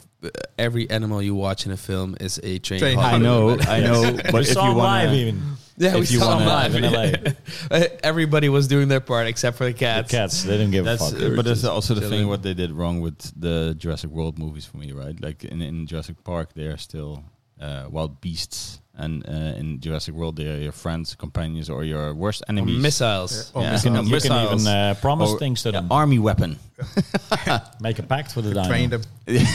Speaker 4: every animal you watch in a film is a trained.
Speaker 3: Trained
Speaker 1: I
Speaker 4: Hollywood
Speaker 1: know,
Speaker 4: animal.
Speaker 1: I know. But
Speaker 2: <laughs> we
Speaker 1: if
Speaker 2: saw
Speaker 1: you
Speaker 2: him
Speaker 1: wanna-
Speaker 2: live even.
Speaker 4: Yeah, we
Speaker 1: If you
Speaker 4: saw
Speaker 1: wanna-
Speaker 4: live
Speaker 2: in
Speaker 4: <laughs>
Speaker 2: <laughs> LA.
Speaker 4: Everybody was doing their part except for the
Speaker 2: Cats.
Speaker 4: cats.
Speaker 2: Cats. They didn't give
Speaker 1: That's
Speaker 2: a fuck.
Speaker 1: uh, but that's also the
Speaker 4: chilling.
Speaker 1: thing what they did wrong with the Jurassic World movies for me, right? Like in, in Jurassic Park, they are still uh, wild beasts, and uh, in Jurassic World, they are your friends, companions, or your worst
Speaker 4: Or
Speaker 1: enemies.
Speaker 4: missiles.
Speaker 3: Or
Speaker 1: Yeah.
Speaker 3: missiles.
Speaker 1: You
Speaker 2: you can
Speaker 1: missiles.
Speaker 2: even uh, promise
Speaker 1: Or-
Speaker 2: things to
Speaker 1: Yeah,
Speaker 2: them.
Speaker 1: army weapon.
Speaker 2: Make a pact with the dino.
Speaker 3: Train them
Speaker 1: <laughs>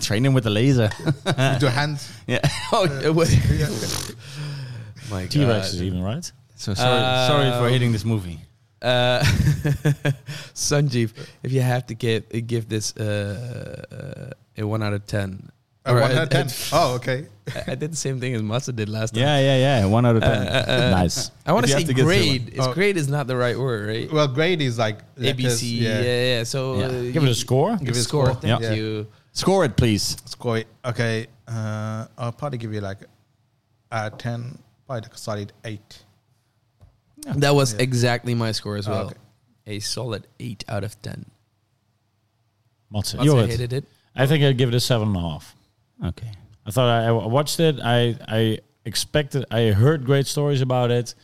Speaker 1: Train him with a
Speaker 2: <laughs>
Speaker 1: laser.
Speaker 3: with your hands.
Speaker 1: yeah. Oh, it was-
Speaker 3: Yeah.
Speaker 4: <laughs> My God.
Speaker 2: T-Rex is even right.
Speaker 1: so sorry, sorry for
Speaker 4: Um,
Speaker 1: hating this movie.
Speaker 4: Uh, <laughs> Sanjeev, if you have to get give this uh, uh, a one out of ten,
Speaker 3: Uh, one
Speaker 4: Or a-
Speaker 3: out of ten. Oh, okay.
Speaker 4: I I did the same thing as Masa did last time.
Speaker 1: Yeah, yeah, yeah. One out of ten.
Speaker 2: Uh, nice.
Speaker 4: I
Speaker 1: If you
Speaker 4: want to say
Speaker 1: have to get
Speaker 4: grade. Is
Speaker 3: Oh.
Speaker 4: grade is not the right word, right?
Speaker 3: Well, grade is like
Speaker 4: A B
Speaker 3: letters,
Speaker 4: C. Yeah, yeah. So
Speaker 1: Yeah.
Speaker 4: uh,
Speaker 2: Give it a score.
Speaker 3: Give
Speaker 4: Give it
Speaker 3: it
Speaker 4: a
Speaker 3: a
Speaker 4: score.
Speaker 3: score.
Speaker 4: Thank
Speaker 1: Yeah.
Speaker 4: you.
Speaker 1: Score it, please.
Speaker 3: Score it. Okay. Uh, I'll probably give you like a ten, probably like a solid eight.
Speaker 4: That was
Speaker 3: Yeah.
Speaker 4: exactly my score as
Speaker 3: Oh,
Speaker 4: well.
Speaker 3: okay.
Speaker 4: A solid eight out of ten.
Speaker 2: Matze.
Speaker 4: Masa
Speaker 2: You're it.
Speaker 4: hated it.
Speaker 2: I think I'd give it a seven and a half.
Speaker 1: Okay.
Speaker 2: I thought I, I watched it. I I expected. I heard great stories about it.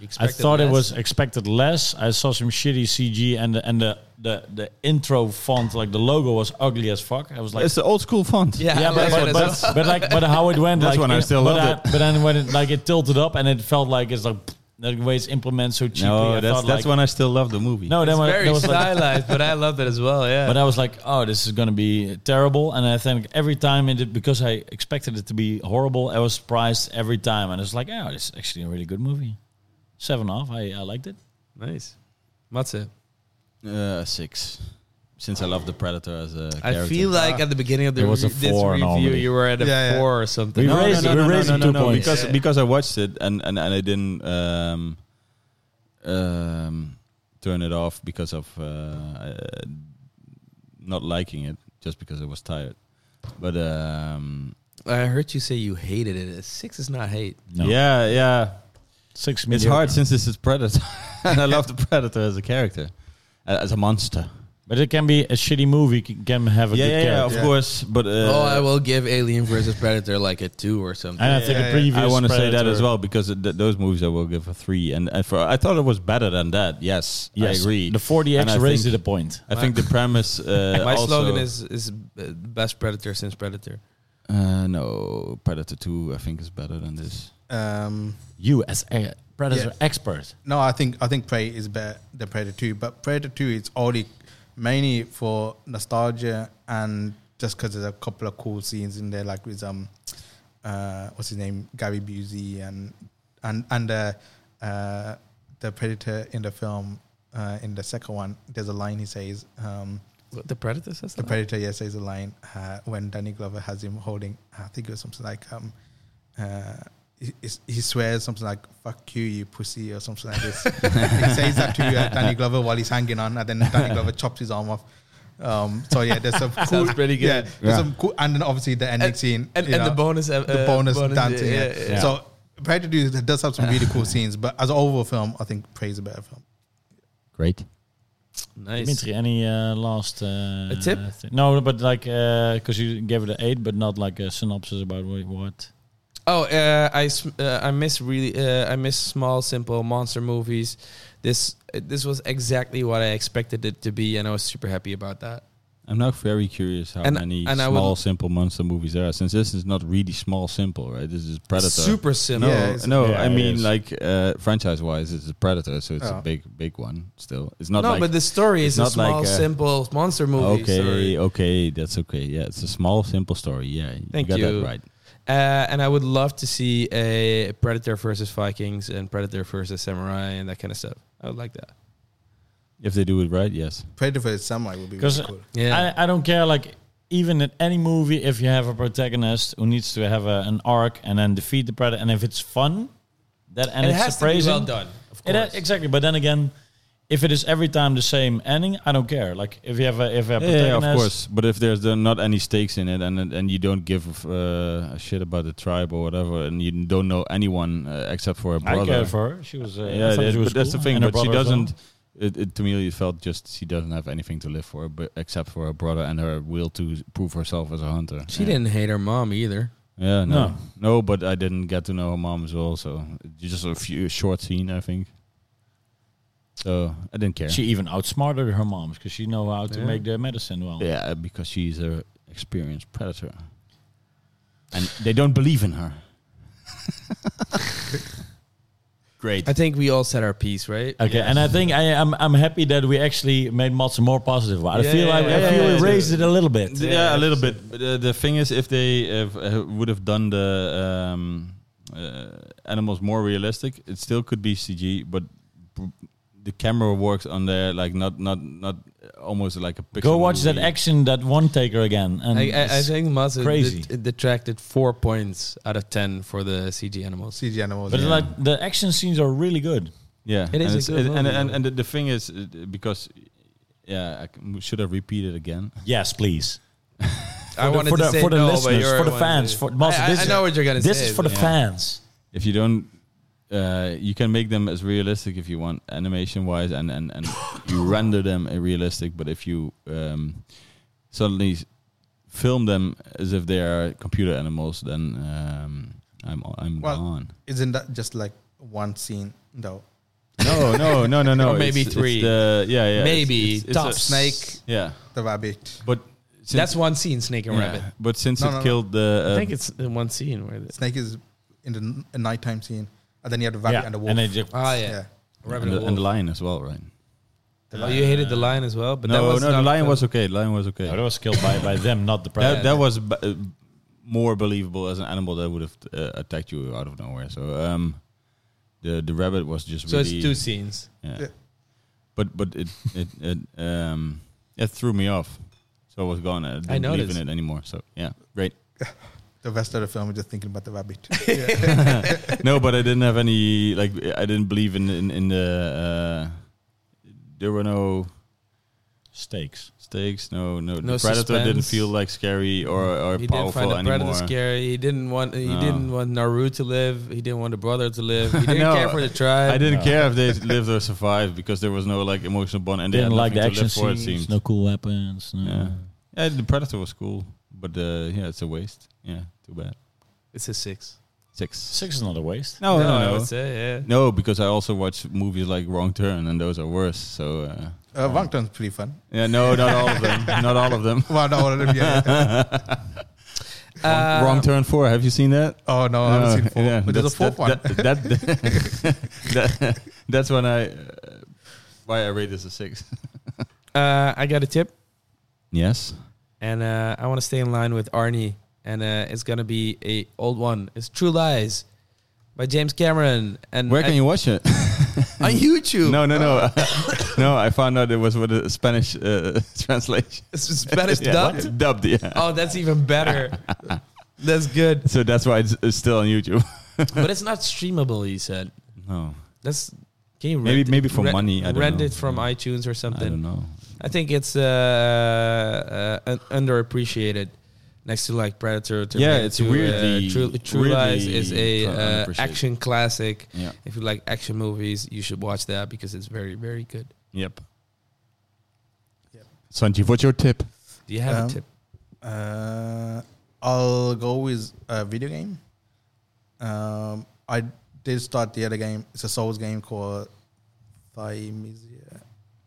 Speaker 4: You
Speaker 2: I
Speaker 4: expected
Speaker 2: thought it
Speaker 4: less.
Speaker 2: was expected less. I saw some shitty CG and the, and the, the the intro font, like the logo, was ugly as fuck. I was like,
Speaker 1: it's the old school font.
Speaker 4: Yeah,
Speaker 2: yeah, but, but, but, but like, but how it went,
Speaker 1: That's
Speaker 2: like,
Speaker 1: when I still
Speaker 2: but,
Speaker 1: loved
Speaker 2: I- but then when it like it tilted up and it felt like it's like the way it's implemented so cheaply.
Speaker 1: No,
Speaker 2: I
Speaker 1: that's
Speaker 2: thought,
Speaker 1: that's
Speaker 2: like,
Speaker 1: when I still love the movie.
Speaker 2: No, then
Speaker 4: it's
Speaker 2: when
Speaker 4: very
Speaker 2: there was like,
Speaker 4: stylized, but I loved it as well. Yeah,
Speaker 2: but I was like, oh, this is gonna be terrible. And I think every time it did, because I expected it to be horrible, I was surprised every time. And it's like, oh, this is actually a really good movie. Seven off, I, I liked it.
Speaker 4: nice. Matze,
Speaker 1: Uh, six. Since I love the Predator as a
Speaker 4: I
Speaker 1: character.
Speaker 4: feel like at the beginning of the
Speaker 2: There was a
Speaker 4: re- this
Speaker 2: four
Speaker 4: review,
Speaker 2: normally.
Speaker 4: you were at a
Speaker 3: Yeah, yeah.
Speaker 4: four or something.
Speaker 2: We No, raised- no, no, we raised it two points.
Speaker 1: because
Speaker 4: Yeah.
Speaker 1: because I watched it and and, and I didn't um, um, turn it off because of uh, uh, not liking it just because I was tired. But um,
Speaker 4: I heard you say you hated it. A six is not hate.
Speaker 2: No.
Speaker 1: yeah, yeah,
Speaker 2: Six
Speaker 1: it's
Speaker 2: minutes.
Speaker 1: hard since this is Predator, <laughs> and I love the Predator as a character, a- as a monster.
Speaker 2: But it can be a shitty movie, c- can have a
Speaker 1: Yeah,
Speaker 2: good
Speaker 1: yeah, yeah, of
Speaker 2: character.
Speaker 3: Yeah.
Speaker 1: course. But uh,
Speaker 4: oh, I will give Alien versus Predator like a two or something.
Speaker 2: And I think
Speaker 3: Yeah,
Speaker 2: a
Speaker 3: yeah.
Speaker 2: previous.
Speaker 1: I want to say that
Speaker 2: Predator-
Speaker 1: as well because th- th- those movies I will give a three, and, and for, I thought it was better than that. Yes,
Speaker 2: Yes,
Speaker 1: I agree.
Speaker 2: The 40x
Speaker 1: And I
Speaker 2: raised
Speaker 1: think-
Speaker 2: it a point.
Speaker 1: I think the
Speaker 4: <laughs>
Speaker 1: premise. Uh,
Speaker 4: My
Speaker 1: also-
Speaker 4: slogan is is uh, best Predator since Predator.
Speaker 1: uh, no Predator Two. I think is better than this.
Speaker 3: Um,
Speaker 2: You as a predator
Speaker 3: Yeah.
Speaker 2: expert.
Speaker 3: no, I think I think Prey is better than Predator Two, but Predator Two is only mainly for nostalgia and just because there's a couple of cool scenes in there, like with um, uh, what's his name, Gary Busey, and and and uh, uh, the Predator in the film. Uh, in the second one, there's a line he says, um,
Speaker 4: The Predator says
Speaker 3: The Predator, yes, says a line uh, when Danny Glover has him holding. I think it was something like, um, uh, he, he swears something like "fuck you, you pussy" or something like this. <laughs> he says that to uh, Danny Glover while he's hanging on, and then Danny Glover chops his arm off. Um, so yeah, there's some cool,
Speaker 4: Sounds pretty good.
Speaker 3: Yeah, there's
Speaker 1: Yeah.
Speaker 3: some cool, and then obviously the ending
Speaker 4: And-
Speaker 3: scene
Speaker 4: and,
Speaker 3: you
Speaker 4: and the
Speaker 3: know,
Speaker 4: bonus uh,
Speaker 3: the
Speaker 4: uh,
Speaker 3: bonus dancing.
Speaker 4: yeah,
Speaker 3: Yeah,
Speaker 4: yeah,
Speaker 2: yeah.
Speaker 3: So Predator do- does have some really cool scenes, but as an overall film, I think Prey is a better film.
Speaker 1: Great.
Speaker 4: nice.
Speaker 2: Dimitri, any uh, last uh,
Speaker 4: A tip?
Speaker 2: thi- no, but like because you gave it an eight, but not like a synopsis about what. what.
Speaker 4: Oh, uh, I sm- uh, I miss really uh, I miss small, simple monster movies. This uh, this was exactly what I expected it to be, and I was super happy about that.
Speaker 1: I'm now very curious how
Speaker 4: And-
Speaker 1: many
Speaker 4: and I would-
Speaker 1: small, simple monster movies there are. Since this is not really small, simple, right? This is Predator.
Speaker 4: Super
Speaker 1: No,
Speaker 4: simple.
Speaker 3: Yeah, it's-
Speaker 1: no.
Speaker 2: Yeah,
Speaker 1: I
Speaker 2: it
Speaker 1: mean,
Speaker 2: is.
Speaker 1: like uh, franchise-wise, it's a Predator, so it's
Speaker 3: Oh.
Speaker 1: a big, big one. Still, it's not
Speaker 4: no,
Speaker 1: like
Speaker 4: but the story
Speaker 1: it's
Speaker 4: is a
Speaker 1: not like
Speaker 4: small,
Speaker 1: a-
Speaker 4: simple monster movie.
Speaker 1: okay,
Speaker 4: story.
Speaker 1: okay, that's okay. Yeah, it's a small, simple story. Yeah,
Speaker 4: Thank
Speaker 1: you got
Speaker 4: you.
Speaker 1: that right.
Speaker 4: Uh, and I would love to see a Predator versus Vikings and Predator versus Samurai and that kind of stuff. I would like that.
Speaker 1: If they do it right, yes.
Speaker 3: Predator vs Samurai would be
Speaker 2: 'Cause,
Speaker 3: really cool.
Speaker 4: Yeah.
Speaker 2: I, I don't care. Like even in any movie, if you have a protagonist who needs to have a, an arc and then defeat the predator, and if it's fun, that and
Speaker 4: it
Speaker 2: it's
Speaker 4: has
Speaker 2: surprising.
Speaker 4: to be well done, of
Speaker 2: It uh,
Speaker 4: course.
Speaker 2: ha- exactly. But then again, if it is every time the same ending, I don't care. Like if you have a if a protagonist,
Speaker 1: Yeah, of course. But if there's uh, not any stakes in it, and and- and you don't give uh, a shit about the tribe or whatever, and you don't know anyone uh, except for a
Speaker 2: I
Speaker 1: brother,
Speaker 2: care for her. She was. Uh,
Speaker 1: yeah,
Speaker 2: I thought
Speaker 1: that-
Speaker 2: she was
Speaker 1: but that's the
Speaker 2: cool.
Speaker 1: thing.
Speaker 2: And her
Speaker 1: But she
Speaker 2: brother as well.
Speaker 1: doesn't. It, it, to me, it felt just she doesn't have anything to live for, but except for her brother and her will to prove herself as a hunter.
Speaker 4: she
Speaker 1: Yeah.
Speaker 4: didn't hate her mom either.
Speaker 1: Yeah, no.
Speaker 2: No.
Speaker 1: no, But I didn't get to know her mom as well. So just a few short scene, I think. So I didn't care.
Speaker 2: She even outsmarted her moms because she know how to
Speaker 4: Yeah.
Speaker 2: make the medicine well.
Speaker 1: yeah, because she's a experienced predator, and they don't believe in her. Great.
Speaker 4: I think we all said our piece, right?
Speaker 2: Okay, and I think I am I'm happy that we actually made Mats more positive. about it. I
Speaker 4: Yeah,
Speaker 2: feel
Speaker 4: yeah,
Speaker 2: like
Speaker 4: yeah,
Speaker 2: I
Speaker 1: yeah,
Speaker 2: feel
Speaker 1: yeah,
Speaker 2: we
Speaker 1: yeah.
Speaker 2: raised it a little bit.
Speaker 1: Yeah, a little bit. But, uh, the thing is, if they uh, v- uh, would have done the um, uh, animals more realistic, it still could be CG, but b- the camera works on there like not not not uh, almost like a pixel.
Speaker 2: Go watch that
Speaker 1: movie.
Speaker 2: action, that one taker again. And
Speaker 4: I, I, I
Speaker 2: it's-
Speaker 4: think Maz
Speaker 2: crazy.
Speaker 4: det- detracted four points out of ten for the CG animals.
Speaker 3: CG animals.
Speaker 2: but
Speaker 3: yeah.
Speaker 2: like the action scenes are really good.
Speaker 1: Yeah,
Speaker 4: It is
Speaker 1: and
Speaker 4: a
Speaker 1: it's-
Speaker 4: good
Speaker 1: and,
Speaker 4: movie,
Speaker 1: and
Speaker 4: though.
Speaker 1: and the- the thing is uh, because yeah, I c- should have repeated again.
Speaker 2: Yes, please.
Speaker 4: I
Speaker 2: the-
Speaker 4: wanted
Speaker 2: for
Speaker 4: to
Speaker 2: the-
Speaker 4: say
Speaker 2: for the
Speaker 4: no, but
Speaker 2: listeners,
Speaker 4: you're
Speaker 2: for the
Speaker 4: one-
Speaker 2: fans, for- Maz,
Speaker 4: I, I-
Speaker 2: this
Speaker 4: I
Speaker 2: is-
Speaker 4: know what you're gonna say.
Speaker 2: This is for the
Speaker 4: but-
Speaker 2: fans.
Speaker 1: If you don't. Uh, you can make them as realistic if you want, animation wise, and and and
Speaker 4: <laughs>
Speaker 1: you render them uh, realistic. But if you um, suddenly s- film them as if they are computer animals, then um, I'm o- I'm
Speaker 3: Well-
Speaker 1: gone.
Speaker 4: <laughs>
Speaker 3: Isn't that just like one scene though?
Speaker 1: No, no, no, no, no.
Speaker 4: Or maybe
Speaker 1: It's- it's
Speaker 4: three.
Speaker 1: the- yeah, yeah. it's-
Speaker 4: Maybe
Speaker 1: it's- it's
Speaker 4: tough
Speaker 1: a-
Speaker 4: snake.
Speaker 1: Yeah,
Speaker 3: The rabbit.
Speaker 1: but since,
Speaker 4: That's one scene, Snake and
Speaker 1: yeah,
Speaker 4: Rabbit.
Speaker 1: But since
Speaker 3: No,
Speaker 1: it
Speaker 3: no, no.
Speaker 1: killed the, uh,
Speaker 4: I think it's the one scene where. The,
Speaker 3: Snake is in the n- a nighttime scene, and then you have the rabbit and the wolf.
Speaker 2: and they just,
Speaker 4: ah,
Speaker 3: yeah.
Speaker 4: yeah,
Speaker 1: and,
Speaker 4: Rabbit and
Speaker 1: the, and the
Speaker 4: Wolf.
Speaker 1: lion as well, right?
Speaker 4: Oh, you hated the lion as well, but that
Speaker 1: no,
Speaker 4: was
Speaker 1: no, the
Speaker 4: not
Speaker 1: lion was okay. The lion was okay.
Speaker 2: no, that was killed by, by them, not the
Speaker 1: that,
Speaker 2: predator.
Speaker 1: that was b- uh, more believable as an animal that would have uh, attacked you out of nowhere. So um, the the rabbit was just
Speaker 4: So
Speaker 1: really,
Speaker 4: it's two scenes.
Speaker 1: yeah.
Speaker 3: Yeah.
Speaker 1: But but it it, it um it threw me off, so I was gone. I didn't believe
Speaker 4: noticed.
Speaker 1: in it anymore. So yeah, great. <laughs>
Speaker 3: The rest of the film, we're just thinking about the rabbit.
Speaker 1: no, but I didn't have any like I didn't believe in in, in the. Uh, there were no
Speaker 2: stakes.
Speaker 1: stakes, no no.
Speaker 4: No
Speaker 1: the predator didn't
Speaker 4: suspense.
Speaker 1: feel like scary or or
Speaker 4: He didn't
Speaker 1: powerful
Speaker 4: find the
Speaker 1: anymore.
Speaker 4: predator scary. He didn't want. He
Speaker 1: No.
Speaker 4: didn't want Naru to live. He didn't want the brother to live. He didn't
Speaker 1: No,
Speaker 4: care for the tribe.
Speaker 1: I didn't
Speaker 2: No.
Speaker 1: care if they lived or survived because there was no like emotional bond, and they
Speaker 2: Didn't
Speaker 1: had
Speaker 2: like the
Speaker 1: nothing to
Speaker 2: action
Speaker 1: live for. It seems.
Speaker 2: scenes. No cool weapons. No.
Speaker 1: Yeah. Yeah, the Predator was cool, but uh, yeah, it's a waste. Yeah, too bad.
Speaker 4: It's a six.
Speaker 1: Six.
Speaker 2: Six is not a waste.
Speaker 1: No, no,
Speaker 4: I
Speaker 1: no,
Speaker 4: would
Speaker 1: no.
Speaker 4: say yeah.
Speaker 1: because I also watch movies like Wrong Turn, and those are worse. So uh,
Speaker 3: uh, Wang Tung's pretty fun.
Speaker 1: yeah, no, not all of them. Not all of them.
Speaker 3: Well, no, all of them, yeah,
Speaker 1: <laughs>
Speaker 3: yeah.
Speaker 4: Um,
Speaker 1: Wrong Turn Four. Have you seen that? Uh,
Speaker 3: Oh no, I haven't seen four.
Speaker 1: yeah,
Speaker 3: but there's
Speaker 1: that's-
Speaker 3: a fourth one.
Speaker 1: That, that, <laughs> that- that's when I uh, why I rate this a six.
Speaker 4: Uh, I got a tip,
Speaker 1: Yes.
Speaker 4: and uh, I want to stay in line with Arnie, and uh, it's gonna be a old one. It's True Lies by James Cameron, and
Speaker 1: Where can
Speaker 4: and-
Speaker 1: you watch it? <laughs>
Speaker 4: on YouTube?
Speaker 1: No, no,
Speaker 4: Uh,
Speaker 1: no, <laughs> no. I found out it was with a Spanish uh, <laughs> translation.
Speaker 4: it's it's better
Speaker 1: <laughs> Yeah,
Speaker 4: dubbed.
Speaker 1: Dubbed, yeah.
Speaker 4: Oh, that's even
Speaker 1: <laughs>
Speaker 4: better. that's good,
Speaker 1: So that's why it's, it's still on YouTube. <laughs>
Speaker 4: but it's not streamable. You said
Speaker 1: No,
Speaker 4: that's. Can you
Speaker 1: Maybe-
Speaker 4: rent it-
Speaker 1: maybe for
Speaker 4: rent-
Speaker 1: money, I don't
Speaker 4: rent
Speaker 1: know.
Speaker 4: it from iTunes or
Speaker 1: I
Speaker 4: something.
Speaker 1: don't know.
Speaker 4: I think it's uh, uh, un- underappreciated next to like Predator. Terminator
Speaker 1: it's
Speaker 4: 2, uh,
Speaker 1: weirdly-
Speaker 4: True, True
Speaker 1: weirdly
Speaker 4: Lies is a
Speaker 1: un-
Speaker 4: uh,
Speaker 1: unappreciated.
Speaker 4: action classic.
Speaker 1: Yeah.
Speaker 4: If you like action movies, you should watch that because it's very very good.
Speaker 1: Yep.
Speaker 3: Yep.
Speaker 1: Sanjeev, what's your tip?
Speaker 4: Do you have
Speaker 3: Um,
Speaker 4: a tip?
Speaker 3: Uh, I'll go with a video game. Um, I did start the other game. It's a Souls game called Thymisia.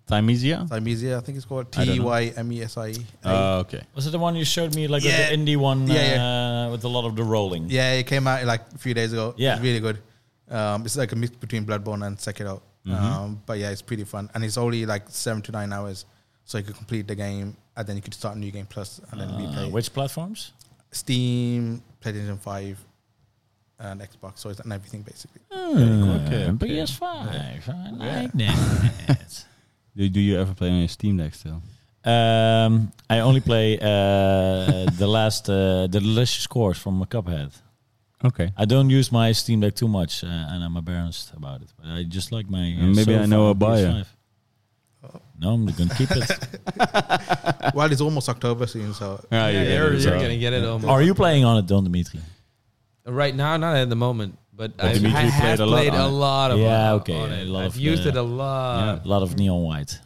Speaker 1: Timesia?
Speaker 3: Timesia, I think it's called
Speaker 1: I don't
Speaker 3: T
Speaker 1: know.
Speaker 3: Y M E S I. A.
Speaker 1: Uh, okay.
Speaker 2: Was it the one you showed me, like
Speaker 3: Yeah.
Speaker 2: with the indie one,
Speaker 3: Yeah,
Speaker 2: Uh, with a lot of the rolling?
Speaker 3: Yeah, it came out like a few days ago.
Speaker 2: Yeah.
Speaker 3: it's really good. Um, it's like a mix between Bloodborne and Sekiro.
Speaker 2: Mm-hmm.
Speaker 3: Um, but yeah, it's pretty fun, and it's only like seven to nine hours, so you could complete the game, and then you could start a new game plus, and then
Speaker 2: Uh,
Speaker 3: replay.
Speaker 2: which platforms?
Speaker 3: Steam, PlayStation Five, and Xbox. So it's on everything basically. <laughs>
Speaker 1: Hmm, okay,
Speaker 2: But
Speaker 1: okay.
Speaker 2: yes, five. I like that.
Speaker 1: Do, do you ever play on your Steam Deck still?
Speaker 2: <laughs> um, I only play uh, the last, uh, the delicious course from Cuphead.
Speaker 1: Okay.
Speaker 2: I don't use my Steam Deck too much, uh, and I'm embarrassed about it. But I just like my. Uh,
Speaker 1: And maybe I
Speaker 2: sofa
Speaker 1: know a
Speaker 2: on
Speaker 1: buyer.
Speaker 2: PS5. No, I'm gonna keep
Speaker 3: <laughs>
Speaker 2: it.
Speaker 3: well, it's almost October soon, so
Speaker 1: Yeah,
Speaker 4: Yeah, you're, you're gonna get it almost.
Speaker 2: Are you playing on it, Don Dimitri?
Speaker 4: Right now, not at the moment, but
Speaker 1: Well,
Speaker 4: I, I
Speaker 1: Dimitri
Speaker 4: have
Speaker 1: played a lot
Speaker 4: played
Speaker 1: on
Speaker 4: a
Speaker 1: it.
Speaker 4: lot of
Speaker 2: Yeah,
Speaker 4: on-
Speaker 2: okay,
Speaker 4: on
Speaker 2: a
Speaker 4: it.
Speaker 2: lot
Speaker 4: I've
Speaker 2: of,
Speaker 4: used
Speaker 2: uh,
Speaker 4: it a lot.
Speaker 2: a lot of neon white.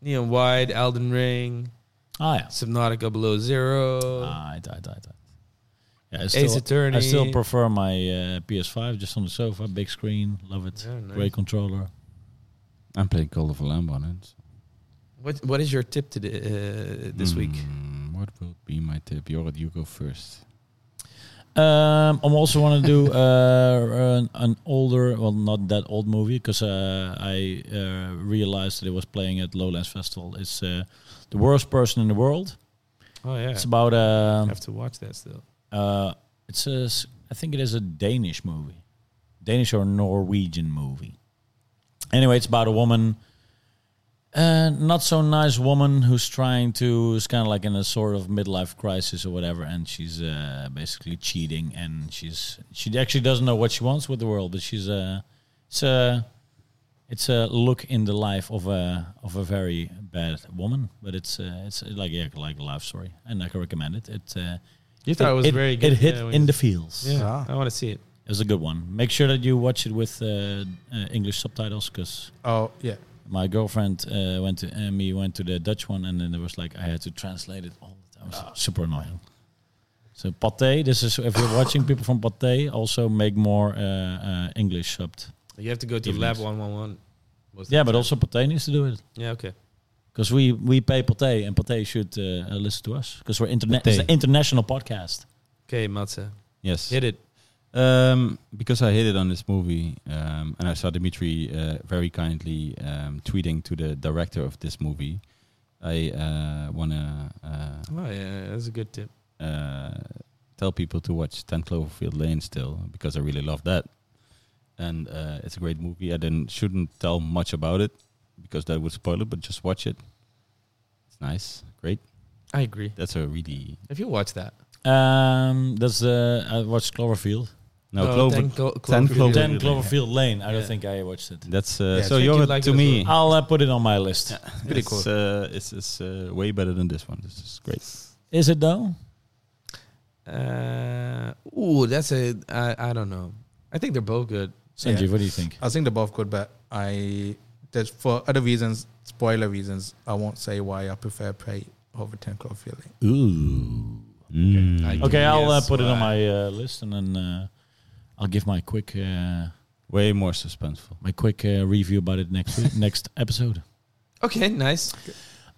Speaker 4: Neon White, Elden Ring,
Speaker 2: Ah, yeah.
Speaker 4: Subnautica Below Zero.
Speaker 2: Ah, I died, I died. Yeah, I
Speaker 4: Ace Attorney.
Speaker 2: I still prefer my uh, PS5 just on the sofa, big screen, love it.
Speaker 4: Yeah, nice.
Speaker 2: Great controller.
Speaker 1: I'm playing Call of a Lamb on it.
Speaker 4: What What is your tip to the, uh, this week?
Speaker 2: Hmm.
Speaker 1: Mm, What will be my tip? Jorrit, you go first.
Speaker 2: Um, I'm also want to do uh, an, an older, well, not that old movie because uh, I uh, realized that it was playing at Lowlands Festival. It's uh, the worst person in the world.
Speaker 4: Oh yeah,
Speaker 2: It's about
Speaker 4: I
Speaker 2: uh,
Speaker 4: have to watch that still.
Speaker 2: uh, it's a, s- I think it is a Danish movie, Danish or Norwegian movie. Anyway, it's about a woman, uh, not so nice woman who's trying to is kind of like in a sort of midlife crisis or whatever, and she's uh, basically cheating, and she's she actually doesn't know what she wants with the world, but she's uh, it's a it's a look in the life of a of a very bad woman, but it's uh, it's like yeah, like a life story, and I can recommend it. It uh,
Speaker 4: You thought it, was very good.
Speaker 2: it hit
Speaker 4: yeah, when
Speaker 2: in
Speaker 4: you-
Speaker 2: the feels.
Speaker 4: Yeah,
Speaker 3: Ah.
Speaker 4: I want to see it.
Speaker 2: It was a good one. Make sure that you watch it with uh, uh, English subtitles because
Speaker 3: oh yeah,
Speaker 2: my girlfriend uh, went to and me went to the Dutch one, and then it was like I had to translate it all the time. It was super annoying. So Pathé, this is if you're watching people from Pathé, also make more uh, uh, English subbed.
Speaker 4: You have to go to
Speaker 2: Evenings.
Speaker 4: Lab One One One.
Speaker 2: Yeah, but also Pathé needs to do it
Speaker 4: yeah, okay.
Speaker 2: because we we pay Pathé, and Pathé should uh, uh, listen to us because we're internet. It's
Speaker 1: Pathé.
Speaker 2: an international podcast.
Speaker 4: Okay, Matze,
Speaker 1: Yes.
Speaker 4: hit it.
Speaker 1: Um, because I hated on this movie, um, and I saw Dimitri uh, very kindly um, tweeting to the director of this movie. I uh, want to uh,
Speaker 4: Oh yeah, that's a good tip.
Speaker 1: uh, tell people to watch 10 Cloverfield Lane still because I really love that. And uh, it's a great movie. I didn't, shouldn't tell much about it because that would spoil it, but just watch it. It's nice. Great.
Speaker 4: I agree.
Speaker 1: That's a really.
Speaker 4: If you watch that,
Speaker 2: Um, that's uh, I watched Cloverfield.
Speaker 1: No, Clover.
Speaker 4: Uh, Ten Clo-
Speaker 1: Ten
Speaker 4: Cloverfield.
Speaker 1: Clover-
Speaker 2: Ten Cloverfield Lane. I don't
Speaker 4: Yeah.
Speaker 2: think I watched it.
Speaker 1: That's uh, so
Speaker 3: Yeah,
Speaker 4: I think you'd
Speaker 1: you're
Speaker 4: like
Speaker 1: to
Speaker 4: it as
Speaker 1: me.
Speaker 2: I'll uh, put it on my list.
Speaker 3: pretty
Speaker 1: it's,
Speaker 3: cool.
Speaker 1: Uh, it's it's uh, way better than this one. This is great.
Speaker 2: Is it though?
Speaker 4: Uh, ooh, that's a. I, I don't know. I think they're both good.
Speaker 2: Sanjeev,
Speaker 3: Yeah.
Speaker 2: what do you think?
Speaker 3: I think they're both good, but I there's for other reasons, spoiler reasons, I won't say why I prefer Prey over Ten Cloverfield Lane.
Speaker 1: Ooh.
Speaker 4: I-
Speaker 2: Okay, I'll uh,
Speaker 4: Yes,
Speaker 2: put it on
Speaker 4: why?
Speaker 2: my uh, list and then uh, I'll give my quick uh,
Speaker 1: Way more suspenseful.
Speaker 2: my quick uh, review about it next week, next episode.
Speaker 4: Okay, nice.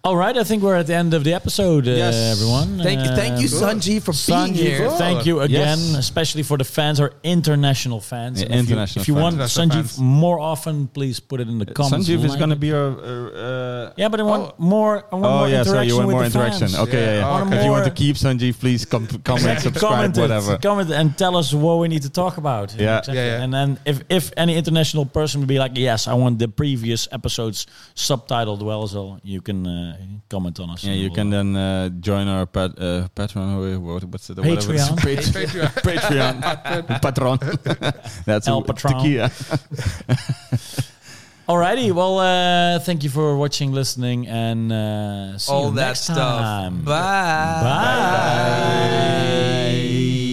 Speaker 2: All right, I think we're at the end of the episode, uh,
Speaker 4: Yes.
Speaker 2: everyone.
Speaker 4: Thank
Speaker 2: Uh,
Speaker 4: thank you,
Speaker 3: Good.
Speaker 4: Sanji, for being
Speaker 2: Sanjeev,
Speaker 4: here.
Speaker 3: Good.
Speaker 2: thank you again,
Speaker 1: Yes.
Speaker 2: especially for the fans, our international fans.
Speaker 1: Yeah,
Speaker 2: And if you-
Speaker 1: international
Speaker 2: if you,
Speaker 1: fans. Uh,
Speaker 2: want
Speaker 3: International
Speaker 2: Sanjeev
Speaker 3: fans.
Speaker 2: more often, please put it in the comments.
Speaker 1: Sanjeev is
Speaker 2: like
Speaker 1: going to
Speaker 2: it.
Speaker 1: be a. Uh, uh,
Speaker 2: Yeah, but I want more. I want
Speaker 1: oh
Speaker 2: more
Speaker 1: yeah,
Speaker 2: interaction
Speaker 1: sorry, you want
Speaker 2: with
Speaker 1: more
Speaker 2: the
Speaker 1: interaction.
Speaker 2: fans.
Speaker 1: Okay, yeah.
Speaker 3: Yeah,
Speaker 1: yeah.
Speaker 2: I want
Speaker 1: If you want to
Speaker 2: more-
Speaker 1: keep Sanjeev, please com- comment,
Speaker 2: Exactly.
Speaker 1: subscribe,
Speaker 2: comment it,
Speaker 1: whatever.
Speaker 2: Comment and tell us what we need to talk about.
Speaker 1: Yeah.
Speaker 2: Exactly.
Speaker 3: Yeah, yeah.
Speaker 2: And then if, if any international person would be like, yes, I want the previous episodes subtitled well, so you can uh, comment on us.
Speaker 1: Yeah,
Speaker 2: and
Speaker 1: you
Speaker 2: we'll-
Speaker 1: can then uh, join our pat- uh, Patreon. or what- What's it? whatever it is.
Speaker 2: Patreon.
Speaker 1: <laughs>
Speaker 2: <laughs>
Speaker 1: Patreon. Patron. <laughs> That's
Speaker 2: El
Speaker 1: who-
Speaker 2: Patron.
Speaker 1: tequila.
Speaker 2: Alrighty, well, uh, thank you for watching, listening, and uh, see
Speaker 4: All
Speaker 2: you
Speaker 4: that
Speaker 2: next
Speaker 4: stuff.
Speaker 2: time.
Speaker 4: Bye.
Speaker 2: Bye.